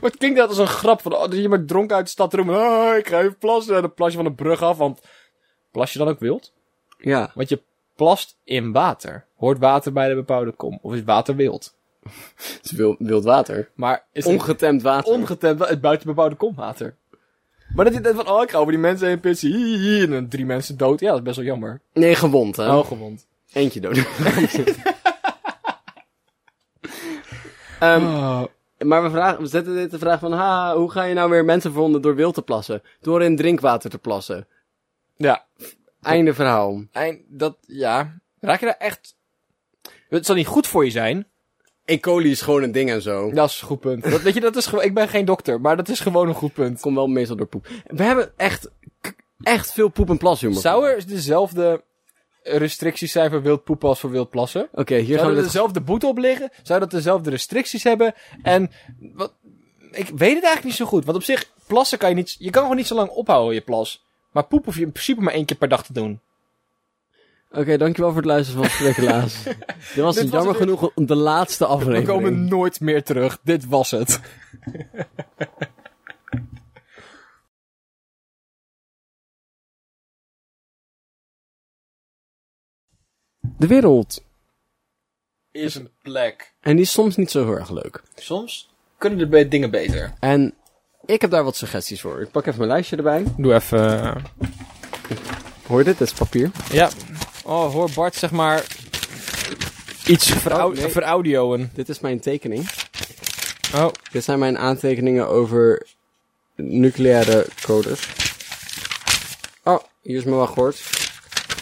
Maar het klinkt net als een grap van... Oh, dat je maar dronken uit de stad roemt. Oh, ik ga even plassen. En dan plas je van de brug af, want... Plas je dan ook wild?
Ja,
Want je plast in water. Hoort water bij de bepaalde kom? Of is water wild?
Het is wil- wild water.
Maar is het
Ongetemd water.
ongetemd wel- het buiten bebouwde komwater? Maar dat je denkt van, oh, ik ga over die mensen heen pissen. hi, hi, hi, En dan drie mensen dood. Ja, dat is best wel jammer.
nee, gewond, hè?
Oh, gewond.
Eentje dood. Ehm,
Oh.
maar we, vragen, we zetten dit de vraag van... Ha, hoe ga je nou weer mensen verwonden door wild te plassen? Door in drinkwater te plassen.
Ja,
Einde verhaal.
En dat, ja. Raak je daar echt. Het zal niet goed voor je zijn.
E. coli is gewoon een ding en zo.
Dat is een goed punt. Dat, weet je, dat is gewoon. Ik ben geen dokter, maar dat is gewoon een goed punt.
Komt wel meestal door poep. We hebben echt, k- echt veel poep en plashumor.
Zou er dezelfde restricties zijn voor wild poepen als voor wild plassen?
Oké, hier gaan
Zou
we
er dus-
dit...
dezelfde boete op liggen? Zou dat dezelfde restricties hebben? En wat, ik weet het eigenlijk niet zo goed. Want op zich, plassen kan je niet. Je kan gewoon niet zo lang ophouden je plas. Maar poep hoef je in principe maar één keer per dag te doen.
Oké, dankjewel voor het luisteren van Sprekkelaars. Dit was
Dit was
jammer
het weer.
genoeg de laatste
We
aflevering.
komen nooit meer terug. Dit was het.
De wereld.
Is een plek.
En die is soms niet zo heel erg leuk.
Soms kunnen er be- dingen beter.
En ik heb daar wat suggesties voor. Ik pak even mijn lijstje erbij.
Doe even. eh,
Hoor je dit? Dit is papier.
Ja. Oh, hoor Bart, zeg maar. Iets verau
nee.
veraudioen.
Dit is mijn tekening.
Oh.
Dit zijn mijn aantekeningen over nucleaire codes. Oh, hier is mijn wachtwoord.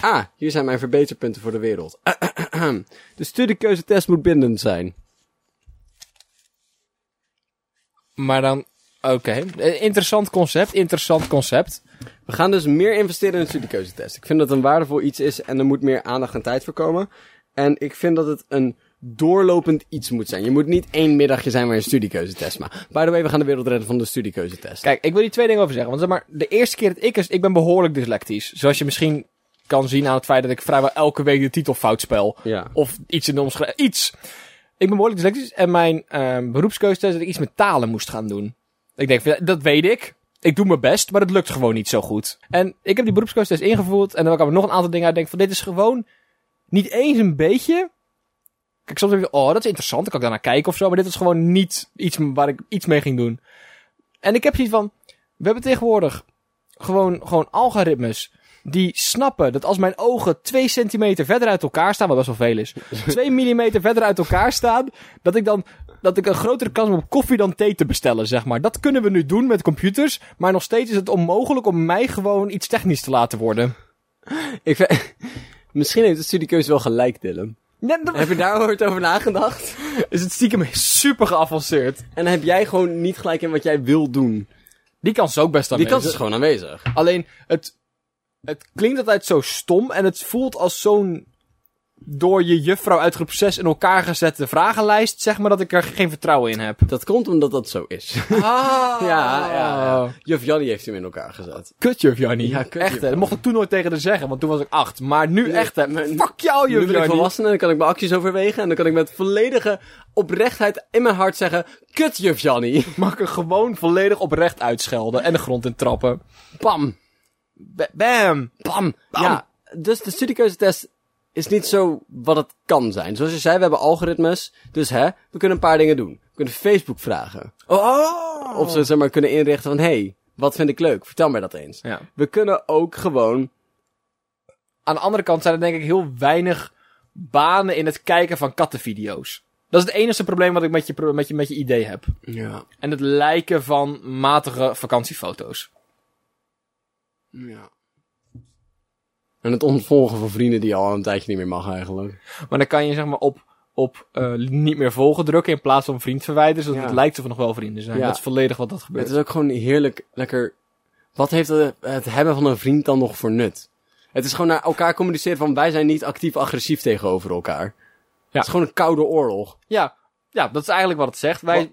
Ah, hier zijn mijn verbeterpunten voor de wereld. De studiekeuzetest moet bindend zijn.
Maar dan. Oké. Eh, Interessant concept, interessant concept.
We gaan dus meer investeren in de studiekeuzetest. Ik vind dat een waardevol iets is en er moet meer aandacht en tijd voor komen. En ik vind dat het een doorlopend iets moet zijn. Je moet niet één middagje zijn waar je een studiekeuzetest maakt. By the way, we gaan de wereld redden van de studiekeuzetest.
Kijk, ik wil hier twee dingen over zeggen. Want zeg maar, de eerste keer dat ik is. Ik ben behoorlijk dyslectisch. Zoals je misschien kan zien aan het feit dat ik vrijwel elke week de titel fout spel.
Ja.
Of iets in de omschrijving. Iets! Ik ben behoorlijk dyslectisch en mijn ehm beroepskeuze is dat ik iets met talen moest gaan doen. Ik denk, van, ja, dat weet ik. Ik doe mijn best, maar het lukt gewoon niet zo goed. En ik heb die beroepskeuzetest ingevoerd en dan kwam er nog een aantal dingen uit. Ik denk van, dit is gewoon niet eens een beetje. Kijk, soms denk je, oh, dat is interessant, dan kan ik daarnaar kijken of zo. Maar dit was gewoon niet iets waar ik iets mee ging doen. En ik heb zoiets van, we hebben tegenwoordig gewoon, gewoon algoritmes die snappen dat als mijn ogen 2 centimeter verder uit elkaar staan, wat best wel veel is, 2 millimeter verder uit elkaar staan, dat ik dan dat ik een grotere kans heb om koffie dan thee te bestellen, zeg maar. Dat kunnen we nu doen met computers, maar nog steeds is het onmogelijk om mij gewoon iets technisch te laten worden.
Ik vind- Misschien heeft de studiekeuze wel gelijk, Dylan.
Net dat-
Heb je daar ooit over nagedacht?
is het stiekem super geavanceerd.
En heb jij gewoon niet gelijk in wat jij wil doen?
Die kans is ook best
Die
aanwezig.
kans is gewoon aanwezig.
Alleen, het, het klinkt altijd zo stom en het voelt als zo'n door je juffrouw uit groep 6 in elkaar gezette vragenlijst, zeg maar, dat ik er geen vertrouwen in heb.
Dat komt omdat dat zo is.
Ah,
ja, ja. Juf Jannie heeft hem in elkaar gezet.
Oh. Kut juf Jannie.
Ja, kut,
echt,
juf.
hè. Dat mocht ik toen nooit tegen haar zeggen, want toen was ik acht. Maar nu echt, hè.
maar-
Fuck jou,
Nu
juf
ben ik
Jannie.
volwassen en dan kan ik mijn acties overwegen. En dan kan ik met volledige oprechtheid in mijn hart zeggen... Kut, juf Jannie.
Mag ik er gewoon volledig oprecht uitschelden en de grond in trappen.
Bam.
Ba- Bam.
Bam. Ja, dus de studiekeuzetest is niet zo wat het kan zijn. Zoals je zei, we hebben algoritmes. Dus hè, we kunnen een paar dingen doen. We kunnen Facebook vragen.
Oh.
Of ze zeg maar kunnen inrichten van... hey, wat vind ik leuk? Vertel mij dat eens.
Ja.
We kunnen ook gewoon...
Aan de andere kant zijn er denk ik heel weinig banen in het kijken van kattenvideo's. Dat is het enige probleem wat ik met je, pro- met je, met je idee heb.
Ja.
En het lijken van matige vakantiefoto's.
ja. En het ontvolgen van vrienden die je al een tijdje niet meer mag eigenlijk.
Maar dan kan je zeg maar op, op eh, niet meer volgen drukken in plaats van vriend verwijderen. Zodat
Ja.
het lijkt of we nog wel vrienden zijn.
Ja.
Dat is volledig wat dat gebeurt.
Het is ook gewoon heerlijk lekker... Wat heeft het, het hebben van een vriend dan nog voor nut? Het is gewoon naar elkaar communiceren van... wij zijn niet actief agressief tegenover elkaar. Het is gewoon een koude oorlog.
Ja, ja, dat is eigenlijk wat het zegt. Wij,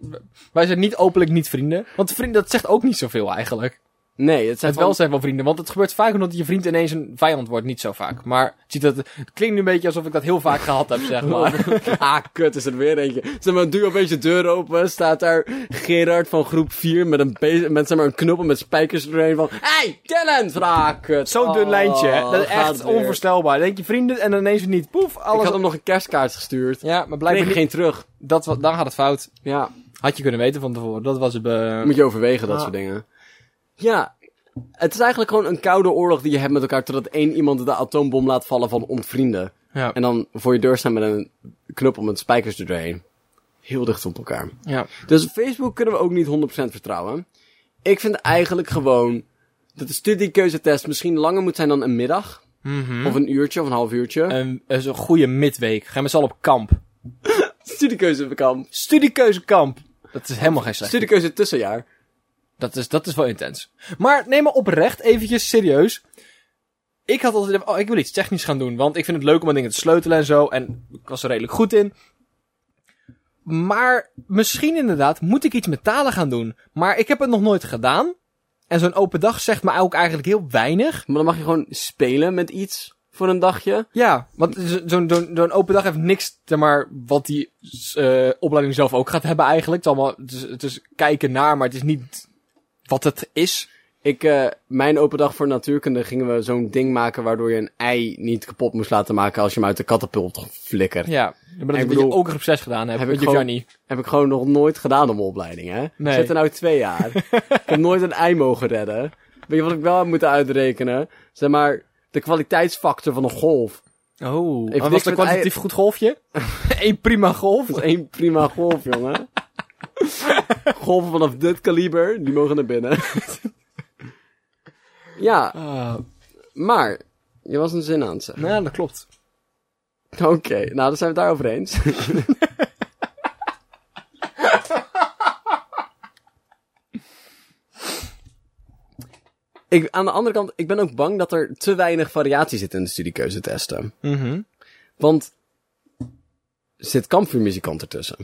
wij zijn niet openlijk niet vrienden. Want vrienden, dat zegt ook niet zoveel eigenlijk.
Nee, het zijn
Het wel zijn van vrienden. Want het gebeurt vaak omdat je vriend ineens een vijand wordt. Niet zo vaak. Maar het ziet dat, het klinkt nu een beetje alsof ik dat heel vaak gehad heb, zeg maar.
wel... Ah, kut, is er weer eentje. Zeg maar, duw opeens de deur open, staat daar Gerard van groep 4 met een, be- met, zeg maar, een knuppel met spijkers erheen van... Hey, Dylan! Van, Ah, kut.
Zo'n dun
Oh,
lijntje. hè. Dat is
gaat
echt
weer.
onvoorstelbaar. Dan denk je vrienden en dan ineens niet. Poef,
Ik
alles.
had hem nog een kerstkaart gestuurd.
Ja, maar
Kreeg
blijkbaar
ik
niet.
geen terug.
Dat, wa- dan gaat het fout.
Ja,
Had je kunnen weten van tevoren. Dat was het. eh,
moet je overwegen, dat
Ah.
soort dingen. Ja, het is eigenlijk gewoon een koude oorlog die je hebt met elkaar... totdat één iemand de atoombom laat vallen van ontvrienden.
Ja.
En dan voor je deur staan met een knuppel met spijkers erdoorheen. Heel dicht op elkaar.
ja.
Dus Facebook kunnen we ook niet 100% vertrouwen. Ik vind eigenlijk gewoon dat de studiekeuzetest misschien langer moet zijn dan een middag.
Mhm.
Of een uurtje of een half uurtje.
Een, Ehm, is een goede midweek. Gaan we z'n allen op kamp.
Studiekeuzekamp.
Studiekeuzekamp. Dat is helemaal geen slecht.
Studiekeuze tussenjaar.
Dat is, dat is wel intens. Maar neem me oprecht eventjes serieus. Ik had altijd... Oh, ik wil iets technisch gaan doen. Want ik vind het leuk om aan dingen te sleutelen en zo. En ik was er redelijk goed in. Maar misschien inderdaad moet ik iets met talen gaan doen. Maar ik heb het nog nooit gedaan. En zo'n open dag zegt me ook eigenlijk heel weinig.
Maar dan mag je gewoon spelen met iets voor een dagje.
Ja, want zo- zo'n zo'n- zo'n open dag heeft niks, zeg maar, wat die eh, opleiding zelf ook gaat hebben eigenlijk. Het is, allemaal, het, is, het is kijken naar, maar het is niet wat het is.
Ik, eh, mijn open dag voor natuurkunde gingen we zo'n ding maken waardoor je een ei niet kapot moest laten maken als je hem uit de katapult flikkert.
Ja, maar dat
Ik
heb
bedoel,
je ook een groep 6 gedaan hebt.
heb
Heb
ik
ik
gewoon-
Giovanni.
Heb ik gewoon nog nooit gedaan op mijn opleiding, hè?
Nee.
Zit er nou twee jaar. ik heb nooit een ei mogen redden. Weet je wat ik wel heb moeten uitrekenen? Zeg maar, de kwaliteitsfactor van een golf.
Oh,
niks
en was het
met
een kwantitatief goed golfje? Eén prima golf?
Dat is één prima golf, jongen. Golven vanaf dit kaliber, die mogen naar binnen. ja,
Ah,
maar... Je was een zin aan het zeggen.
nou, dat klopt.
Oké, nou, dan zijn we het daarover eens. ik, aan de andere kant, ik ben ook bang dat er te weinig variatie zit in de studiekeuzetesten. Want zit kampvuurmuzikant ertussen.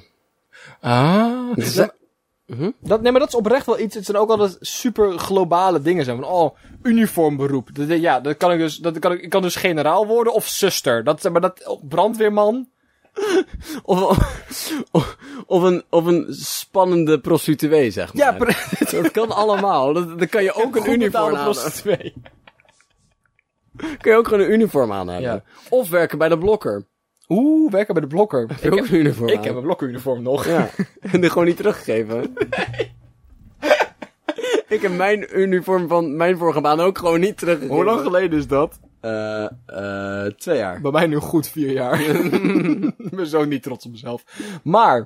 Ah,
Dus
dat, dat, nee, maar dat is oprecht wel iets. Het zijn ook altijd super globale dingen. Zijn van, oh, uniformberoep. Dat, ja, dat kan ik dus, dat kan ik, ik kan dus generaal worden of zuster. Dat, maar dat, oh, brandweerman.
Of, of, of een, of een spannende prostituee, zeg maar.
Ja, pre-
dat kan allemaal. Dat- Dan kan je ook een
goed
uniform
betaalde
aan hebben.
prostituee.
Kun je ook gewoon een uniform aan hebben.
Ja.
Of werken bij de blokker.
Oeh, werken bij de blokker.
Heb je ook een uniform
Ik
aan?
heb een blokuniform nog.
Ja, en die gewoon niet teruggegeven. ik heb mijn uniform van mijn vorige baan ook gewoon niet teruggegeven.
geleden is dat?
Eh, eh, twee jaar.
Bij mij nu goed vier jaar. ik ben zo niet trots op mezelf. Maar,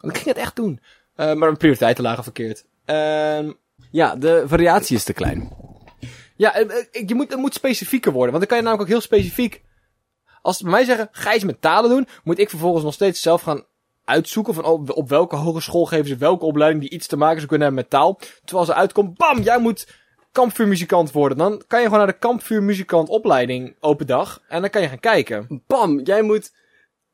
ik ging het echt doen. Eh, maar mijn prioriteiten lagen verkeerd. Ehm,
Ja, de variatie is te klein.
ja, eh, eh, je moet, het moet specifieker worden. Want dan kan je namelijk ook heel specifiek... Als ze bij mij zeggen, ga iets met talen doen... moet ik vervolgens nog steeds zelf gaan uitzoeken... van oh, op welke hogeschool geven ze welke opleiding... die iets te maken zou kunnen hebben met taal. Terwijl ze uitkomt, bam, jij moet kampvuurmuzikant worden. Dan kan je gewoon naar de kampvuurmuzikant opleiding open dag... en dan kan je gaan kijken.
Bam, jij moet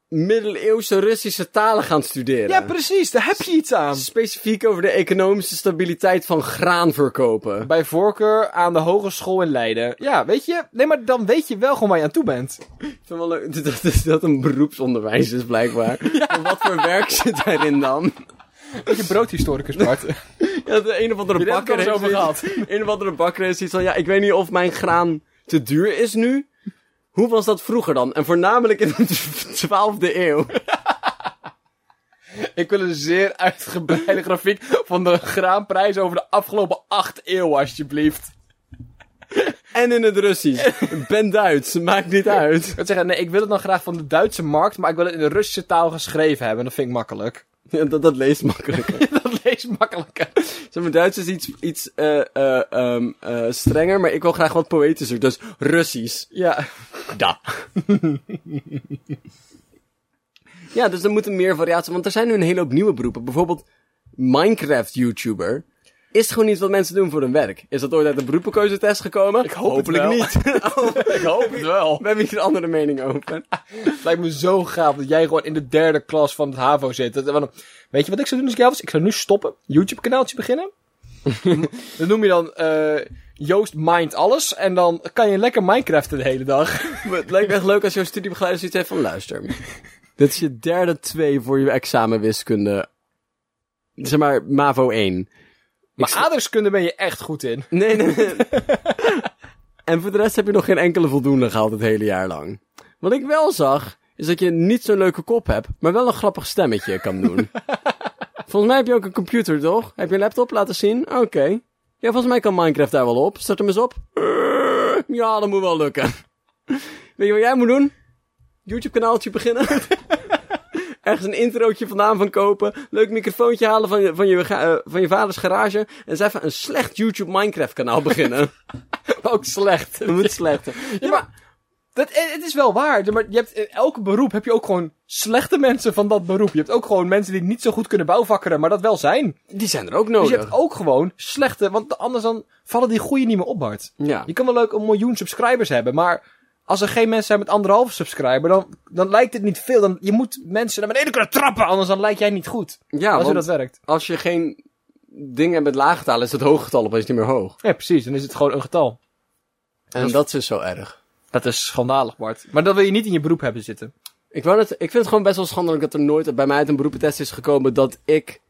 middeleeuwse Russische talen gaan studeren.
Ja, precies. Daar heb je iets aan.
Specifiek over de economische stabiliteit van graan verkopen.
Bij voorkeur aan de hogeschool in Leiden. Ja, weet je? Nee, maar dan weet je wel gewoon waar je aan toe bent.
Ik vind wel leuk dat- dat, dat dat een beroepsonderwijs is, blijkbaar. Maar wat voor werk zit daarin dan?
Dat je broodhistoricus Bart.
Ja, de een of andere
Jullie
bakker
hebben het
heeft
er over
zoiets- Een of andere bakker heeft zoiets van, ja, ik weet niet of mijn graan te duur is nu. Hoe was dat vroeger dan? En voornamelijk in de 12e eeuw.
Ik wil een zeer uitgebreide grafiek van de graanprijs over de afgelopen acht eeuwen, alsjeblieft.
En in het Russisch. Ik ben Duits, maakt niet uit.
Ik wil zeggen, nee, ik wil het dan graag van de Duitse markt, maar ik wil het in de Russische taal geschreven hebben. Dat vind ik makkelijk.
Ja, dat, dat leest makkelijker.
Dat lees makkelijker.
Zeg maar, Duits is iets, iets eh, eh, ehm, eh, strenger, maar ik wil graag wat poëtischer. Dus Russisch.
Ja.
Da. ja, dus er moet meer variatie. Want er zijn nu een hele hoop nieuwe beroepen. Bijvoorbeeld Minecraft-YouTuber. Is gewoon niet wat mensen doen voor hun werk. Is dat ooit uit de beroepenkeuzetest gekomen? Ik
hoop het
Hopelijk
wel.
niet.
Ik hoop het wel.
We hebben hier een andere mening over.
Het lijkt me zo gaaf dat jij gewoon in de derde klas van het HAVO zit. Dat- want- weet je wat ik zou doen als ik jou was? Ik zou nu stoppen, YouTube-kanaaltje beginnen. dat noem je dan eh, Joost Mind Alles. En dan kan je lekker Minecraften de hele dag.
Maar het lijkt me echt leuk als jouw studiebegeleider zoiets heeft van... Luister, dit is je derde twee voor je examen wiskunde. Zeg maar, MAVO 1.
Maar aardrijkskunde ben je echt goed in.
Nee, nee, nee. en voor de rest heb je nog geen enkele voldoende gehaald het hele jaar lang. Wat ik wel zag, is dat je niet zo'n leuke kop hebt, maar wel een grappig stemmetje kan doen. volgens mij heb je ook een computer, toch? Heb je een laptop laten zien? Oké. Ja, volgens mij kan Minecraft daar wel op. Start hem eens op. Eh, Ja, dat moet wel lukken. Weet je wat jij moet doen? YouTube-kanaaltje beginnen. Ergens een introotje vandaan van kopen. Leuk microfoontje halen van je, van je, ga- eh, van je vaders garage. En eens even een slecht YouTube Minecraft kanaal beginnen.
Ook slecht.
Dat moet slechter.
Ja, maar dat, eh, het is wel waar. Maar je hebt, in elk beroep heb je ook gewoon slechte mensen van dat beroep. Je hebt ook gewoon mensen die niet zo goed kunnen bouwvakkeren, maar dat wel zijn.
Die zijn er ook
Dus
nodig.
je hebt ook gewoon slechte, want anders dan vallen die goeie niet meer op, Bart.
Ja.
Je kan wel leuk een miljoen subscribers hebben, maar als er geen mensen zijn met anderhalve subscriber, dan, dan lijkt het niet veel. Dan, je moet mensen naar beneden kunnen trappen, anders dan lijkt jij niet goed.
ja,
dat is hoe
want
dat werkt.
als je geen dingen hebt met lage getallen, is het hoge getal opeens niet meer hoog.
Ja, precies. Dan is het gewoon een getal.
En dat is dus zo erg.
Dat is schandalig, Bart. Maar dat wil je niet in je beroep hebben zitten.
Ik, wou net, ik vind het gewoon best wel schandelijk dat er nooit bij mij uit een beroepentest is gekomen dat ik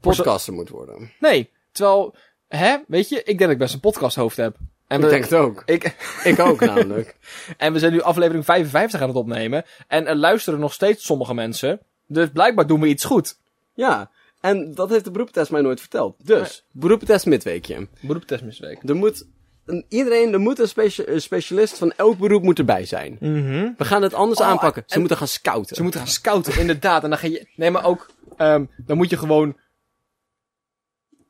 podcaster moet worden.
Nee. Terwijl, hè, weet je, ik denk dat ik best een podcasthoofd heb. En
Ik denk het ook.
ik,
Ik ook namelijk.
en we zijn nu aflevering 55 aan het opnemen. En er luisteren nog steeds sommige mensen. Dus blijkbaar doen we iets goed.
Ja, en dat heeft de beroepentest mij nooit verteld. Dus, beroepentest midweekje.
Beroeptest misweek.
Er moet, een- iedereen, er moet een, specia- een specialist van elk beroep moet erbij zijn. We gaan het anders
Oh,
aanpakken. Mhm. Ze
en-
moeten gaan scouten.
Ze moeten gaan scouten, inderdaad. En dan ga je. Nee, maar ook. ehm, dan moet je gewoon.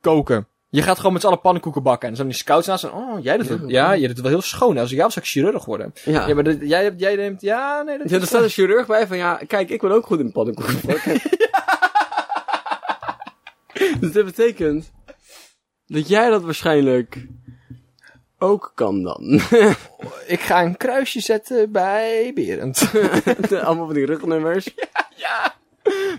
koken. Je gaat gewoon met z'n allen pannenkoeken bakken. En dan zijn die scouts naast. En, oh, jij doet het. Ja, jij doet het wel heel schoon. Als ik jou was, zou ik chirurg worden.
Ja.
Ja, maar dit- jij, hebt- jij neemt. Ja, nee, dat
Ja, er
is.
staat een chirurg bij van ja, kijk, ik ben ook goed in pannenkoeken bakken. Dus dat betekent dat jij dat waarschijnlijk ook kan dan.
Ik ga een kruisje zetten bij Berend.
Allemaal van die rugnummers. Ja, ja.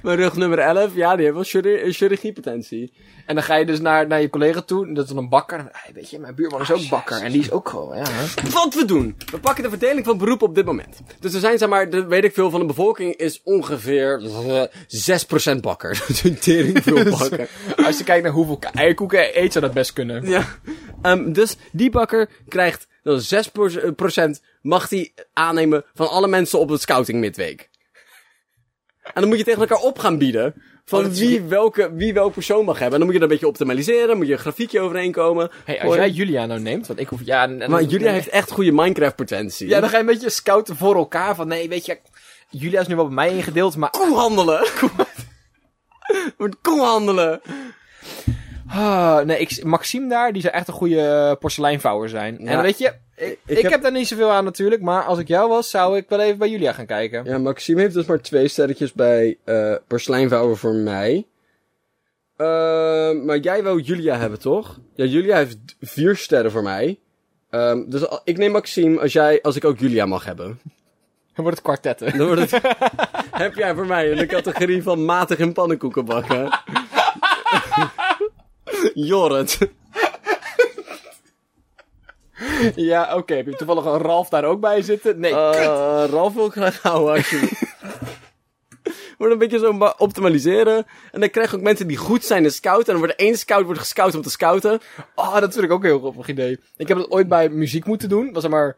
Mijn rugnummer 11, ja, die heeft wel chirur- chirurgiepotentie.
en dan ga je dus naar, naar je collega toe. en Dat is dan een bakker. En, hey, weet je, mijn buurman is ook bakker. En die is ook gewoon. Ja, hè.
Wat we doen. We pakken de verdeling van beroepen op dit moment. Dus er zijn, zeg maar, de, weet ik veel, van de bevolking is ongeveer eh, 6% bakker. Dus een tering veel bakker.
Als je kijkt naar hoeveel eierkoeken eet, zou dat best kunnen.
Ja. Ehm, dus die bakker krijgt dan 6% mag hij aannemen van alle mensen op het scouting midweek. En dan moet je tegen elkaar op gaan bieden.
Oh,
Van
dat is-
wie, welke, wie welk persoon mag hebben. En dan moet je dat een beetje optimaliseren. Moet je een grafiekje overheen komen.
Hey, als jij Julia nou neemt, want ik hoef. Ja, en- en-
Maar Julia heeft echt goede Minecraft potentie.
Ja, dan ga je een beetje scouten voor elkaar. Van nee, weet je, Julia is nu wel bij mij ingedeeld, maar.
koehandelen. Wordt koehandelen.
Ah, nee, ik, Maxime daar, die zou echt een goede eh, porseleinvouwer zijn. En weet je, ik, ik heb...
heb
daar niet zoveel aan natuurlijk, maar als ik jou was, zou ik wel even bij Julia gaan kijken.
Ja, Maxime heeft dus maar twee sterretjes bij eh porseleinvouwer voor mij. Ehm, maar jij wou Julia hebben, toch? Ja, Julia heeft d- vier sterren voor mij. Ehm, dus al- ik neem Maxime als, jij, als ik ook Julia mag hebben.
Dan wordt het kwartetten.
Dan wordt het... Heb jij voor mij in de categorie van matig in pannenkoeken bakken? Jorrit.
ja, oké. Heb je toevallig een Ralf daar ook bij zitten? Nee, kut.
Eh Ralf wil ik graag houden, alsjeblieft. Wordt een beetje zo ma- optimaliseren. En dan krijg je ook mensen die goed zijn in scouten. En dan wordt één scout wordt gescout om te scouten.
Ah, dat vind ik ook een heel grappig idee. Ik heb het ooit bij muziek moeten doen. Was zeg maar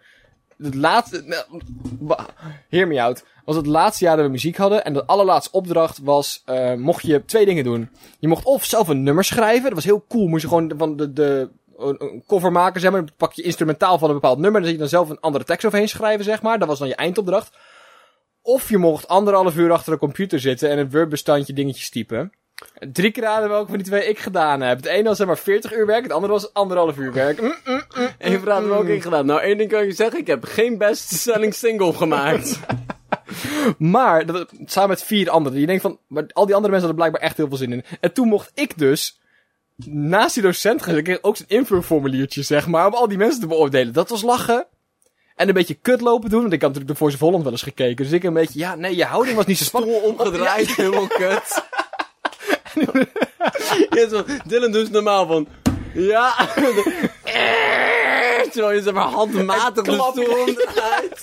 het laatste... nou, wa- Hear me out. Was het laatste jaar dat we muziek hadden. En de allerlaatste opdracht was... eh, mocht je twee dingen doen. Je mocht of zelf een nummer schrijven. Dat was heel cool. Moest je gewoon van de... de een, een cover maken, zeg maar. Dan pak je instrumentaal van een bepaald nummer. Dan zet je dan zelf een andere tekst overheen schrijven, zeg maar. Dat was dan je eindopdracht. Of je mocht anderhalf uur achter de computer zitten en een Word-bestandje dingetjes typen. Drie keer raden welke van die twee ik gedaan heb. Het ene was zeg maar 40 uur werk, het andere was anderhalf uur werk. Mm, mm.
Eén vraag hebben we ook ingedaan. Nou, één ding kan ik je zeggen. Ik heb geen bestselling single gemaakt.
Maar, dat, samen met vier anderen. Je denkt van, maar al die andere mensen hadden blijkbaar echt heel veel zin in. En toen mocht ik dus, naast die docent gaan zitten, ik kreeg ook zo'n invulformuliertje zeg maar, om al die mensen te beoordelen. Dat was lachen. En een beetje kut lopen doen, want ik had natuurlijk de Voice of Holland wel eens gekeken. Dus ik een beetje, ja, nee, je houding was niet zo spannend.
Stoel omgedraaid, helemaal kut. Ja, zo, Dylan doet normaal van... Ja. Terwijl je zeg maar handmatig de
klap
stoel onderuit.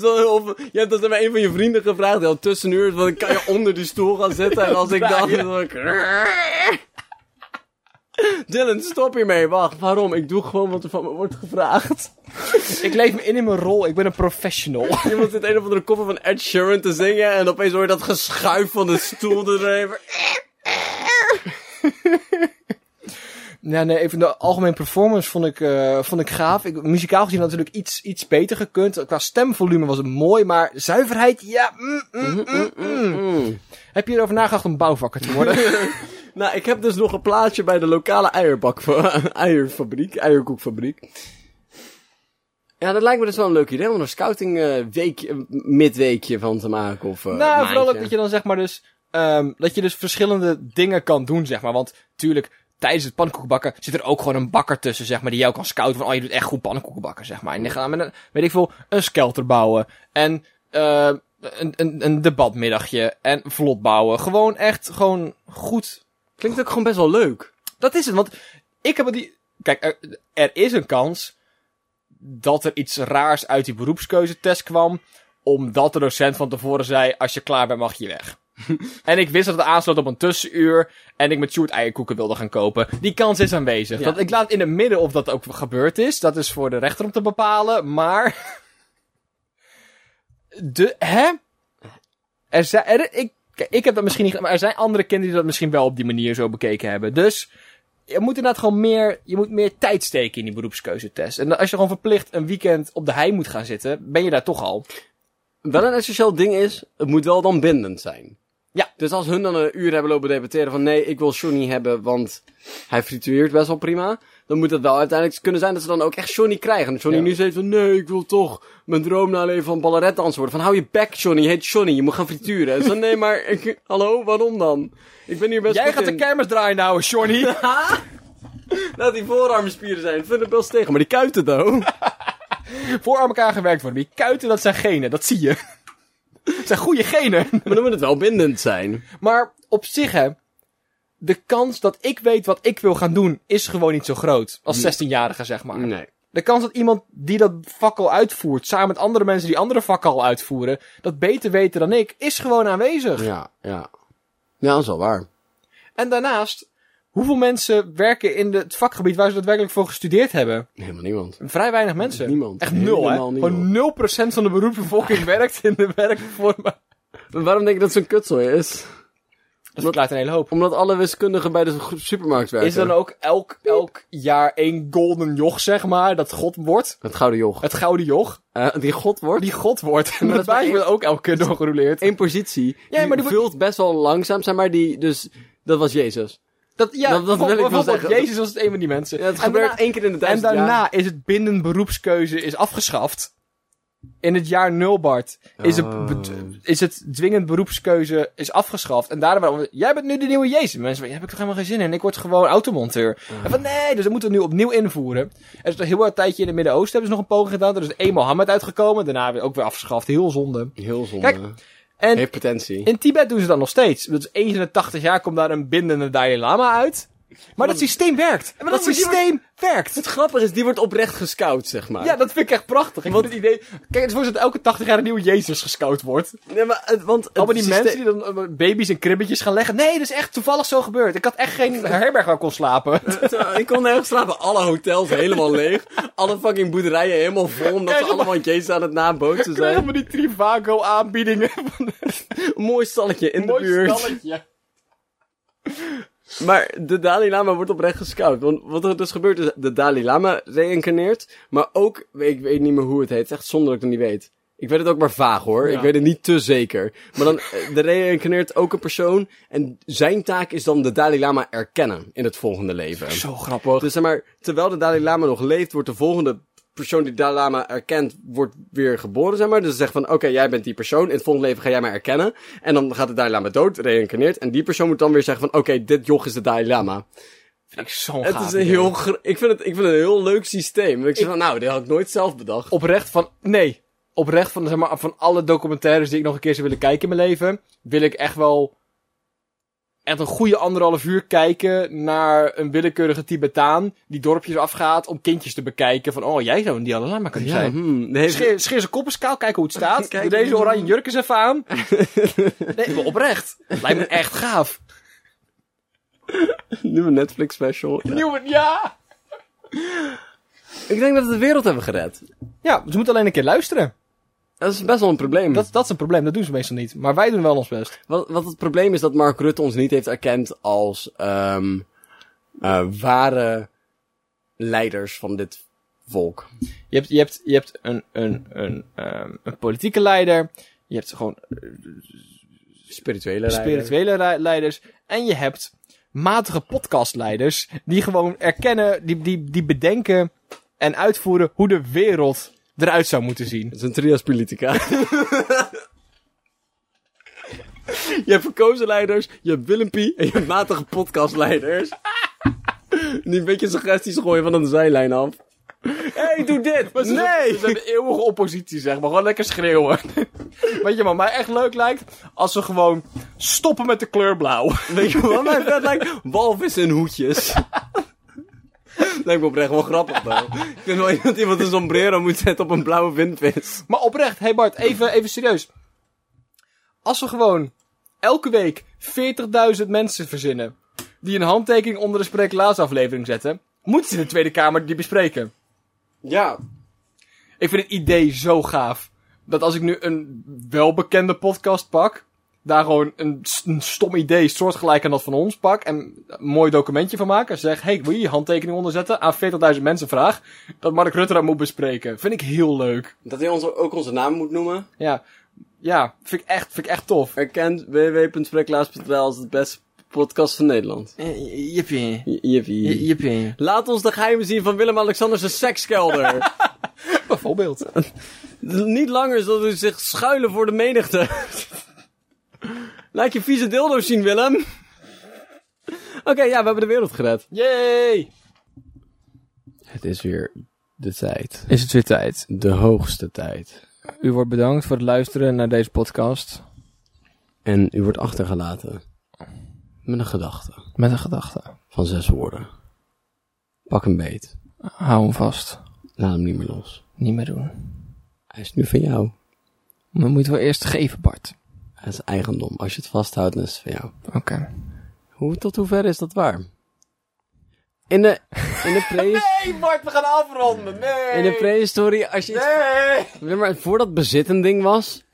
Zo, of, je hebt dat zeg maar een van je vrienden gevraagd. die Al tussenuur, want kan je onder die stoel gaan zitten. En als ik dan...
Draaien.
dan ik- Dylan, stop hiermee. Wacht, waarom? Ik doe gewoon wat er van me wordt gevraagd.
Ik leef me in in mijn rol, ik ben een professional.
Iemand zit een of andere koffer van Ed Sheeran te zingen. En opeens hoor je dat geschuif van de stoel erin.
Ja, nee, even de algemeen performance vond ik, eh, vond ik gaaf. Ik, muzikaal gezien had het natuurlijk iets, iets beter gekund. Qua stemvolume was het mooi, maar zuiverheid, ja. mm, mm, mm, mm.
Mm.
Heb je erover nagedacht om bouwvakker te worden?
Nou, ik heb dus nog een plaatje bij de lokale eierbak, eierfabriek, eierkoekfabriek. Ja, dat lijkt me dus wel een leuk idee om er een scouting eh, week, eh, midweekje van te maken. Of, eh,
nou, vooral
maandje.
ook dat je dan zeg maar dus, ehm, dat je dus verschillende dingen kan doen, zeg maar. Want tuurlijk, tijdens het pannenkoekenbakken zit er ook gewoon een bakker tussen, zeg maar, die jou kan scouten van, oh, je doet echt goed pannenkoekenbakken, zeg maar. En die gaan met een, weet ik veel, een skelter bouwen en ehm, een, een, een debatmiddagje en vlot bouwen. Gewoon echt, gewoon goed
Klinkt ook gewoon best wel leuk.
Dat is het, want ik heb het die. Kijk, er, er is een kans dat er iets raars uit die beroepskeuzetest kwam, omdat de docent van tevoren zei: Als je klaar bent, mag je weg. en ik wist dat het aansloot op een tussenuur en ik met Sjoerd eierkoeken wilde gaan kopen. Die kans is aanwezig.
Ja.
Dat, ik laat in het midden of dat ook gebeurd is. Dat is voor de rechter om te bepalen, maar. de. Hè? Er zijn, er, ik, kijk, ik heb dat misschien niet gedaan, maar er zijn andere kinderen die dat misschien wel op die manier zo bekeken hebben. Dus je moet inderdaad gewoon meer, je moet meer tijd steken in die beroepskeuzetest. En als je gewoon verplicht een weekend op de hei moet gaan zitten, ben je daar toch al.
Wel een essentieel ding is, het moet wel dan bindend zijn.
Ja.
Dus als hun dan een uur hebben lopen debatteren van nee, ik wil Johnny hebben, want hij fritureert best wel prima. Dan moet het wel uiteindelijk kunnen zijn dat ze dan ook echt Johnny krijgen. En Johnny
Ja.
nu zegt van nee, ik wil toch mijn droom naleven van ballet dansen worden. Van hou je bek Johnny, je heet Johnny, je moet gaan frituren. En ze nee, maar ik, hallo, waarom dan? Ik ben hier best
Jij
goed
gaat de
in.
kermis draaien nou, Johnny.
Laat die voorarmspieren zijn, ik vind het best tegen, maar die kuiten though.
Voor aan elkaar gewerkt worden. Die kuiten, dat zijn genen, dat zie je. Dat zijn goede genen.
maar dan moet het wel bindend zijn.
Maar op zich, hè, de kans dat ik weet wat ik wil gaan doen, is gewoon niet zo groot. Als 16-jarige, zeg maar.
Nee.
De kans dat iemand die dat vak al uitvoert, samen met andere mensen die andere vakken al uitvoeren, dat beter weten dan ik, is gewoon aanwezig.
Ja, ja. Ja, dat is wel waar.
En daarnaast, hoeveel mensen werken in de- het vakgebied waar ze daadwerkelijk voor gestudeerd hebben?
Helemaal niemand.
Vrij weinig mensen.
Niemand.
Echt nul, hè?
Helemaal niemand.
Gewoon 0% van de beroepsbevolking werkt in de werkvormen.
Maar Waarom denk je dat het zo'n kutzooi is?
Dat verklaart een hele hoop.
Omdat alle wiskundigen bij de gro- supermarkt werken.
Is dan ook elk, elk jaar één golden joch, zeg maar, dat god wordt?
Het gouden joch.
Het gouden joch,
Eh, die god wordt.
die god wordt. En
Maar dat
dat
is maar
bij wordt ook elke keer doorgeroleerd.
Eén positie.
Ja,
die
maar die
vult best wel langzaam, zeg maar. Die, dus dat was Jezus.
Dat, ja,
Dat- dat wil ik wel
bijvoorbeeld
zeggen.
Jezus was het een van die mensen.
Ja, het
En daarna-
gebeurt één keer in de
En
duizend
daarna
jaar.
is het binnen beroepskeuze is afgeschaft. In het jaar nul, Bart, is,
Oh.
het, be- is het dwingend beroepskeuze is afgeschaft. En daarom, waarom- jij bent nu de nieuwe Jezus. Mensen, van, ja, heb ik toch helemaal geen zin in. Ik word gewoon automonteur. En van, nee, dus dat moeten we nu opnieuw invoeren. Er is een heel wat tijdje in het Midden-Oosten hebben ze nog een poging gedaan. Er is één Mohammed uitgekomen. Daarna weer ook weer afgeschaft. Heel zonde.
Heel zonde.
Kijk, En
Heeft potentie.
in Tibet doen ze dat nog steeds. Dus eens in de 80 jaar komt daar een bindende Dalai Lama uit. Maar dat systeem werkt.
maar
dat
dat-
systeem werkt.
Het grappige is, die wordt oprecht gescout, zeg maar.
Ja, dat vind ik echt prachtig. Ik Want het idee. Kijk, het is voor dat elke 80 jaar een nieuwe Jezus gescout wordt.
Nee, maar, het- want het
Allemaal die
systeem-
mensen die dan eh, baby's in kribbetjes gaan leggen. Nee, dat is echt toevallig zo gebeurd. Ik had echt geen herberg waar ik kon slapen.
Zo, ik kon nergens slapen. Alle hotels helemaal leeg. Alle fucking boerderijen helemaal vol. Omdat ze
Krijg je
allemaal Jezus aan het nabootsen
Ik kreeg
zijn.
allemaal die Trivago aanbiedingen van de
Mooi stalletje in de
mooi
buurt.
stalletje.
Maar de Dalai Lama wordt oprecht gescout. Want wat er dus gebeurt is, de Dalai Lama reïncarneert. Maar ook, ik weet niet meer hoe het heet. Het is echt zonde dat ik het niet weet. Ik weet het ook maar vaag hoor.
Ja.
Ik weet het niet te zeker. Maar dan, eh, er reïncarneert ook een persoon. En zijn taak is dan de Dalai Lama erkennen in het volgende leven.
Zo grappig.
Dus zeg maar, terwijl de Dalai Lama nog leeft, wordt de volgende persoon die Dalai Lama erkent, wordt weer geboren, zeg maar. Dus ze zegt van, oké, jij bent die persoon, in het volgende leven ga jij mij erkennen. En dan gaat de Dalai Lama dood, reïncarneert. En die persoon moet dan weer zeggen van, oké, dit joch is de Dalai Lama.
Vind ik zo'n
Het
gaaf
is een
idee.
heel, gr- ik, vind het, ik vind het een heel leuk systeem. Ik zeg van, nou, dit had ik nooit zelf bedacht.
oprecht van. Nee. Oprecht van, zeg maar, van alle documentaires die ik nog een keer zou willen kijken in mijn leven. Wil ik echt wel. echt een goede anderhalf uur kijken naar een willekeurige Tibetaan die dorpjes afgaat om kindjes te bekijken. Van, oh, jij zou een Dialalama kunnen
Ja,
zijn.
hmm, nee,
Scheer, scheer zijn kop eens kaal, kijken hoe het staat.
Kijk.
Doe deze oranje jurk eens even aan. Nee, maar oprecht. Lijkt me echt gaaf.
nu een Netflix special. Ja.
Newman, ja!
Ik denk dat we de wereld hebben gered.
Ja, ze moeten alleen een keer luisteren.
Dat is best wel een probleem.
Dat, dat is een probleem, dat doen ze meestal niet. Maar wij doen wel ons best.
Wat, wat het probleem is dat Mark Rutte ons niet heeft erkend als ehm eh, ware leiders van dit volk.
Je hebt, je hebt, je hebt een, een, een, ehm, een politieke leider. Je hebt gewoon
Spirituele leiders.
spirituele rei- leiders. En je hebt matige podcastleiders. Die gewoon erkennen, die, die, die bedenken en uitvoeren hoe de wereld eruit zou moeten zien.
Dat is een trias politica. je hebt verkozen leiders, je hebt Willempie en je hebt matige podcastleiders. Die een beetje suggesties gooien van aan de zijlijn af.
hey, doe dit!
ze
nee!
zijn- ze zijn
de eeuwige oppositie, zeg maar. Gewoon lekker schreeuwen. Weet je wat mij echt leuk lijkt? Als ze gewoon stoppen met de kleur blauw.
Weet je wat mij vet lijkt? Walvissen in hoedjes. Lijkt me oprecht wel grappig, though. Ik vind wel dat iemand een sombrero moet zetten op een blauwe windvis.
Maar oprecht, hey Bart, even, even serieus. Als we gewoon elke week 40.000 mensen verzinnen. die een handtekening onder de Spreeklaatsaflevering zetten. moeten ze in de Tweede Kamer die bespreken.
Ja.
Ik vind het idee zo gaaf. Dat als ik nu een welbekende podcast pak. daar gewoon een, s- een stom idee, soortgelijk aan dat van ons pak. en een mooi documentje van maken. zeg: hey, wil je je handtekening onderzetten? aan 40.000 mensen vraag. dat Mark Rutte dat moet bespreken. Vind ik heel leuk.
Dat hij ons ook onze naam moet noemen.
Ja, ja vind, ik echt, vind ik echt tof.
Erkent www.spreklaas.nl als het beste podcast van Nederland.
Eh, Jippie.
J- Jippie.
Jippie.
Laat ons de geheimen zien van Willem-Alexander zijn sekskelder.
Bijvoorbeeld.
Niet langer zal u zich schuilen voor de menigte. Laat je vieze dildo's zien, Willem. Oké, ja, we hebben de wereld gered.
Yay!
Het is weer de tijd.
Is het weer tijd.
De hoogste tijd.
U wordt bedankt voor het luisteren naar deze podcast.
En u wordt achtergelaten met een gedachte
Met een gedachte.
van zes woorden. Pak hem beet.
Hou hem vast.
Laat hem niet meer los.
Niet meer doen.
Hij is nu van jou.
Maar moet wel eerst geven, Bart.
Hij is eigendom. Als je het vasthoudt, dan is het van jou.
Oké.
Hoe, tot hoever is dat waar? In de, in de prehistorie...
Nee, Bart, we gaan afronden. Nee.
In de prehistorie, als je iets...
Nee.
Nee, maar voordat bezit een ding was,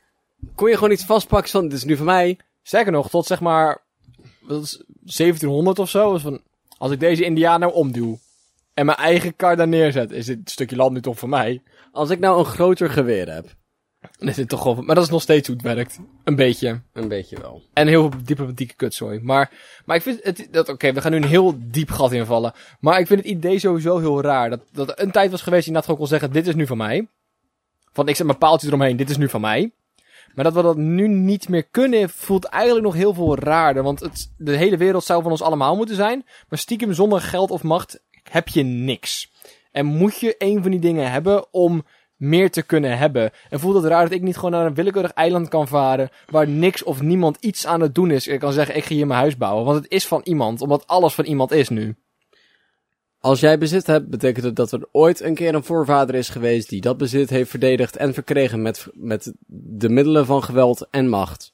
kon je gewoon iets vastpakken van, dit is nu van mij.
Sterker nog, tot zeg maar wat is het, 1700 of zo. was van, als ik deze indiaan nou omduw en mijn eigen kar daar neerzet, is dit stukje land nu toch voor mij?
Als ik nou een groter geweer heb.
Dan is dit toch gewoon... Maar dat is nog steeds hoe het werkt. Een beetje.
Een beetje wel.
En heel veel diplomatieke kutzooi. Maar, maar ik vind het, dat, oké, we gaan nu een heel diep gat invallen. Maar ik vind het idee sowieso heel raar. Dat, dat er een tijd was geweest die Nat gewoon kon zeggen, dit is nu van mij. Van, ik zet mijn paaltje eromheen, dit is nu van mij. Maar dat we dat nu niet meer kunnen, voelt eigenlijk nog heel veel raarder. Want het, de hele wereld zou van ons allemaal moeten zijn. Maar stiekem zonder geld of macht heb je niks. En moet je een van die dingen hebben om meer te kunnen hebben. En voelt het raar dat ik niet gewoon naar een willekeurig eiland kan varen... waar niks of niemand iets aan het doen is. Ik kan zeggen, ik ga hier mijn huis bouwen. Want het is van iemand, omdat alles van iemand is nu.
Als jij bezit hebt, betekent het dat er ooit een keer een voorvader is geweest die dat bezit heeft verdedigd en verkregen met, met de middelen van geweld en macht.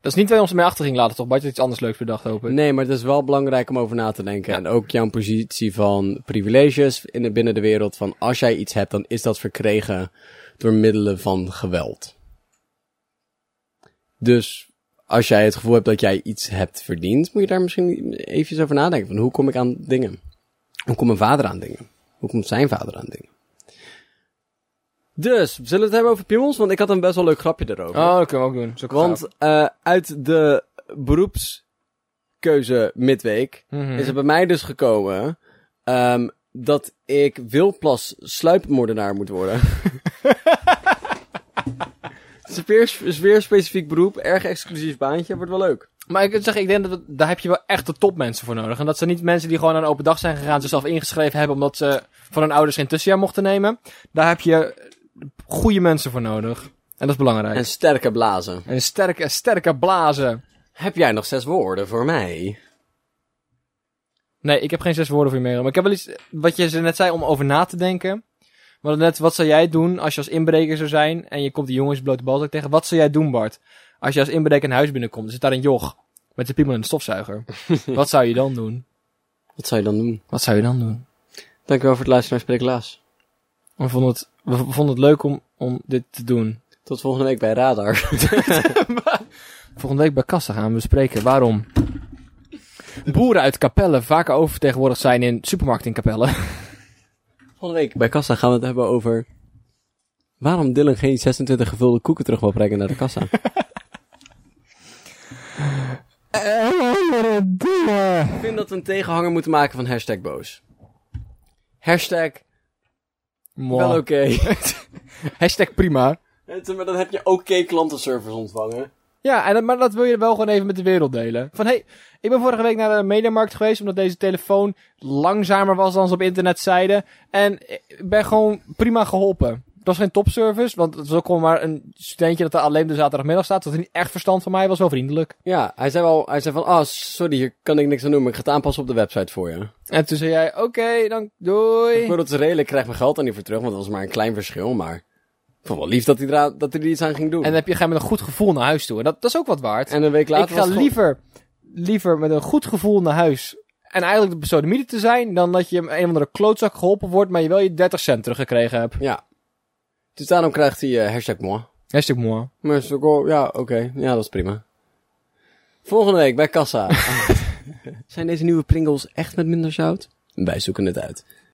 Dat is niet waar je ons mee achter ging laten, toch? Bart je had iets anders leuks bedacht, hoop ik.
Nee, maar het is wel belangrijk om over na te denken. En ook jouw positie van privileges in de, binnen de wereld. Van als jij iets hebt, dan is dat verkregen door middelen van geweld. Dus als jij het gevoel hebt dat jij iets hebt verdiend, moet je daar misschien eventjes over nadenken. Van hoe kom ik aan dingen? Hoe komt mijn vader aan dingen? Hoe komt zijn vader aan dingen? Dus, zullen we het hebben over piemels? Want ik had een best wel leuk grapje erover.
Oh, dat kunnen we ook doen. Dat is ook
Want eh, uit de beroepskeuze midweek
gaaf. Mhm.
is het bij mij dus gekomen ehm, dat ik wilplas sluipmoordenaar moet worden. Het is een weer- is weer een specifiek beroep, erg exclusief baantje, wordt wel leuk.
Maar ik zeg, ik denk dat we- daar heb je wel echt de topmensen voor nodig. En dat zijn niet mensen die gewoon aan een open dag zijn gegaan, zichzelf ingeschreven hebben omdat ze van hun ouders geen tussenjaar mochten nemen. Daar heb je eh, goede mensen voor nodig. En dat is belangrijk.
En sterke blazen.
En sterke, sterke blazen.
Heb jij nog zes woorden voor mij?
Nee, ik heb geen zes woorden voor je meer. Maar ik heb wel iets, eh, wat je ze net zei, om over na te denken. Maar net, wat zou jij doen als je als inbreker zou zijn en je komt die jongens blote balzak tegen? Wat zou jij doen, Bart? Als je als inbreker een huis binnenkomt, er zit daar een joch met zijn piemel en een stofzuiger. wat zou je dan doen?
Wat zou je dan doen?
Wat zou je dan doen?
Dankjewel voor het luisteren naar Spreek Laas.
We vonden het, we vonden het leuk om, om dit te doen.
Tot volgende week bij Radar.
Volgende week bij Kassa gaan we bespreken waarom boeren uit Capelle vaker oververtegenwoordigd zijn in supermarkten in Capelle.
Volgende week bij Kassa gaan we het hebben over... Waarom Dylan geen 26 gevulde koeken terug wil brengen naar de kassa? Ik vind dat we een tegenhanger moeten maken van hashtag boos. Hashtag wel oké.
Wow. Hashtag prima.
maar dan heb je oké klantenservice ontvangen.
Ja, en, dat- maar dat wil je wel gewoon even met de wereld delen. Van hey, ik ben vorige week naar de mediamarkt geweest omdat deze telefoon langzamer was dan ze op internet zeiden. En ik ben gewoon prima geholpen. Het was geen topservice, want het was ook gewoon maar een studentje dat er alleen de zaterdagmiddag staat. Dat had niet echt verstand van mij, was wel vriendelijk.
Ja, hij zei wel, hij zei van, ah, sorry, hier kan ik niks aan doen, maar ik ga het aanpassen op de website voor je.
En toen zei jij, oké, dan
Ik wil
doei.
dat ze redelijk, ik krijg mijn geld dan niet voor terug, want dat was maar een klein verschil, maar... Ik vond wel lief dat hij, eraan- dat hij er iets aan ging doen.
En dan heb je, ga je met een goed gevoel naar huis toe. En dat, dat is ook wat waard.
En een week later
ik ga
was het gewoon-
liever, liever met een goed gevoel naar huis. En eigenlijk de besodemieter te zijn, dan dat je hem een of andere klootzak geholpen wordt, maar je wel je 30 cent teruggekregen hebt.
Ja. Dus daarom krijgt hij eh, hashtag moi.
Hartstikke mooi.
Maar is ook wel- ja, oké. Ja, dat is prima. Volgende week bij Kassa. Zijn deze nieuwe Pringles echt met minder zout? Wij zoeken het uit.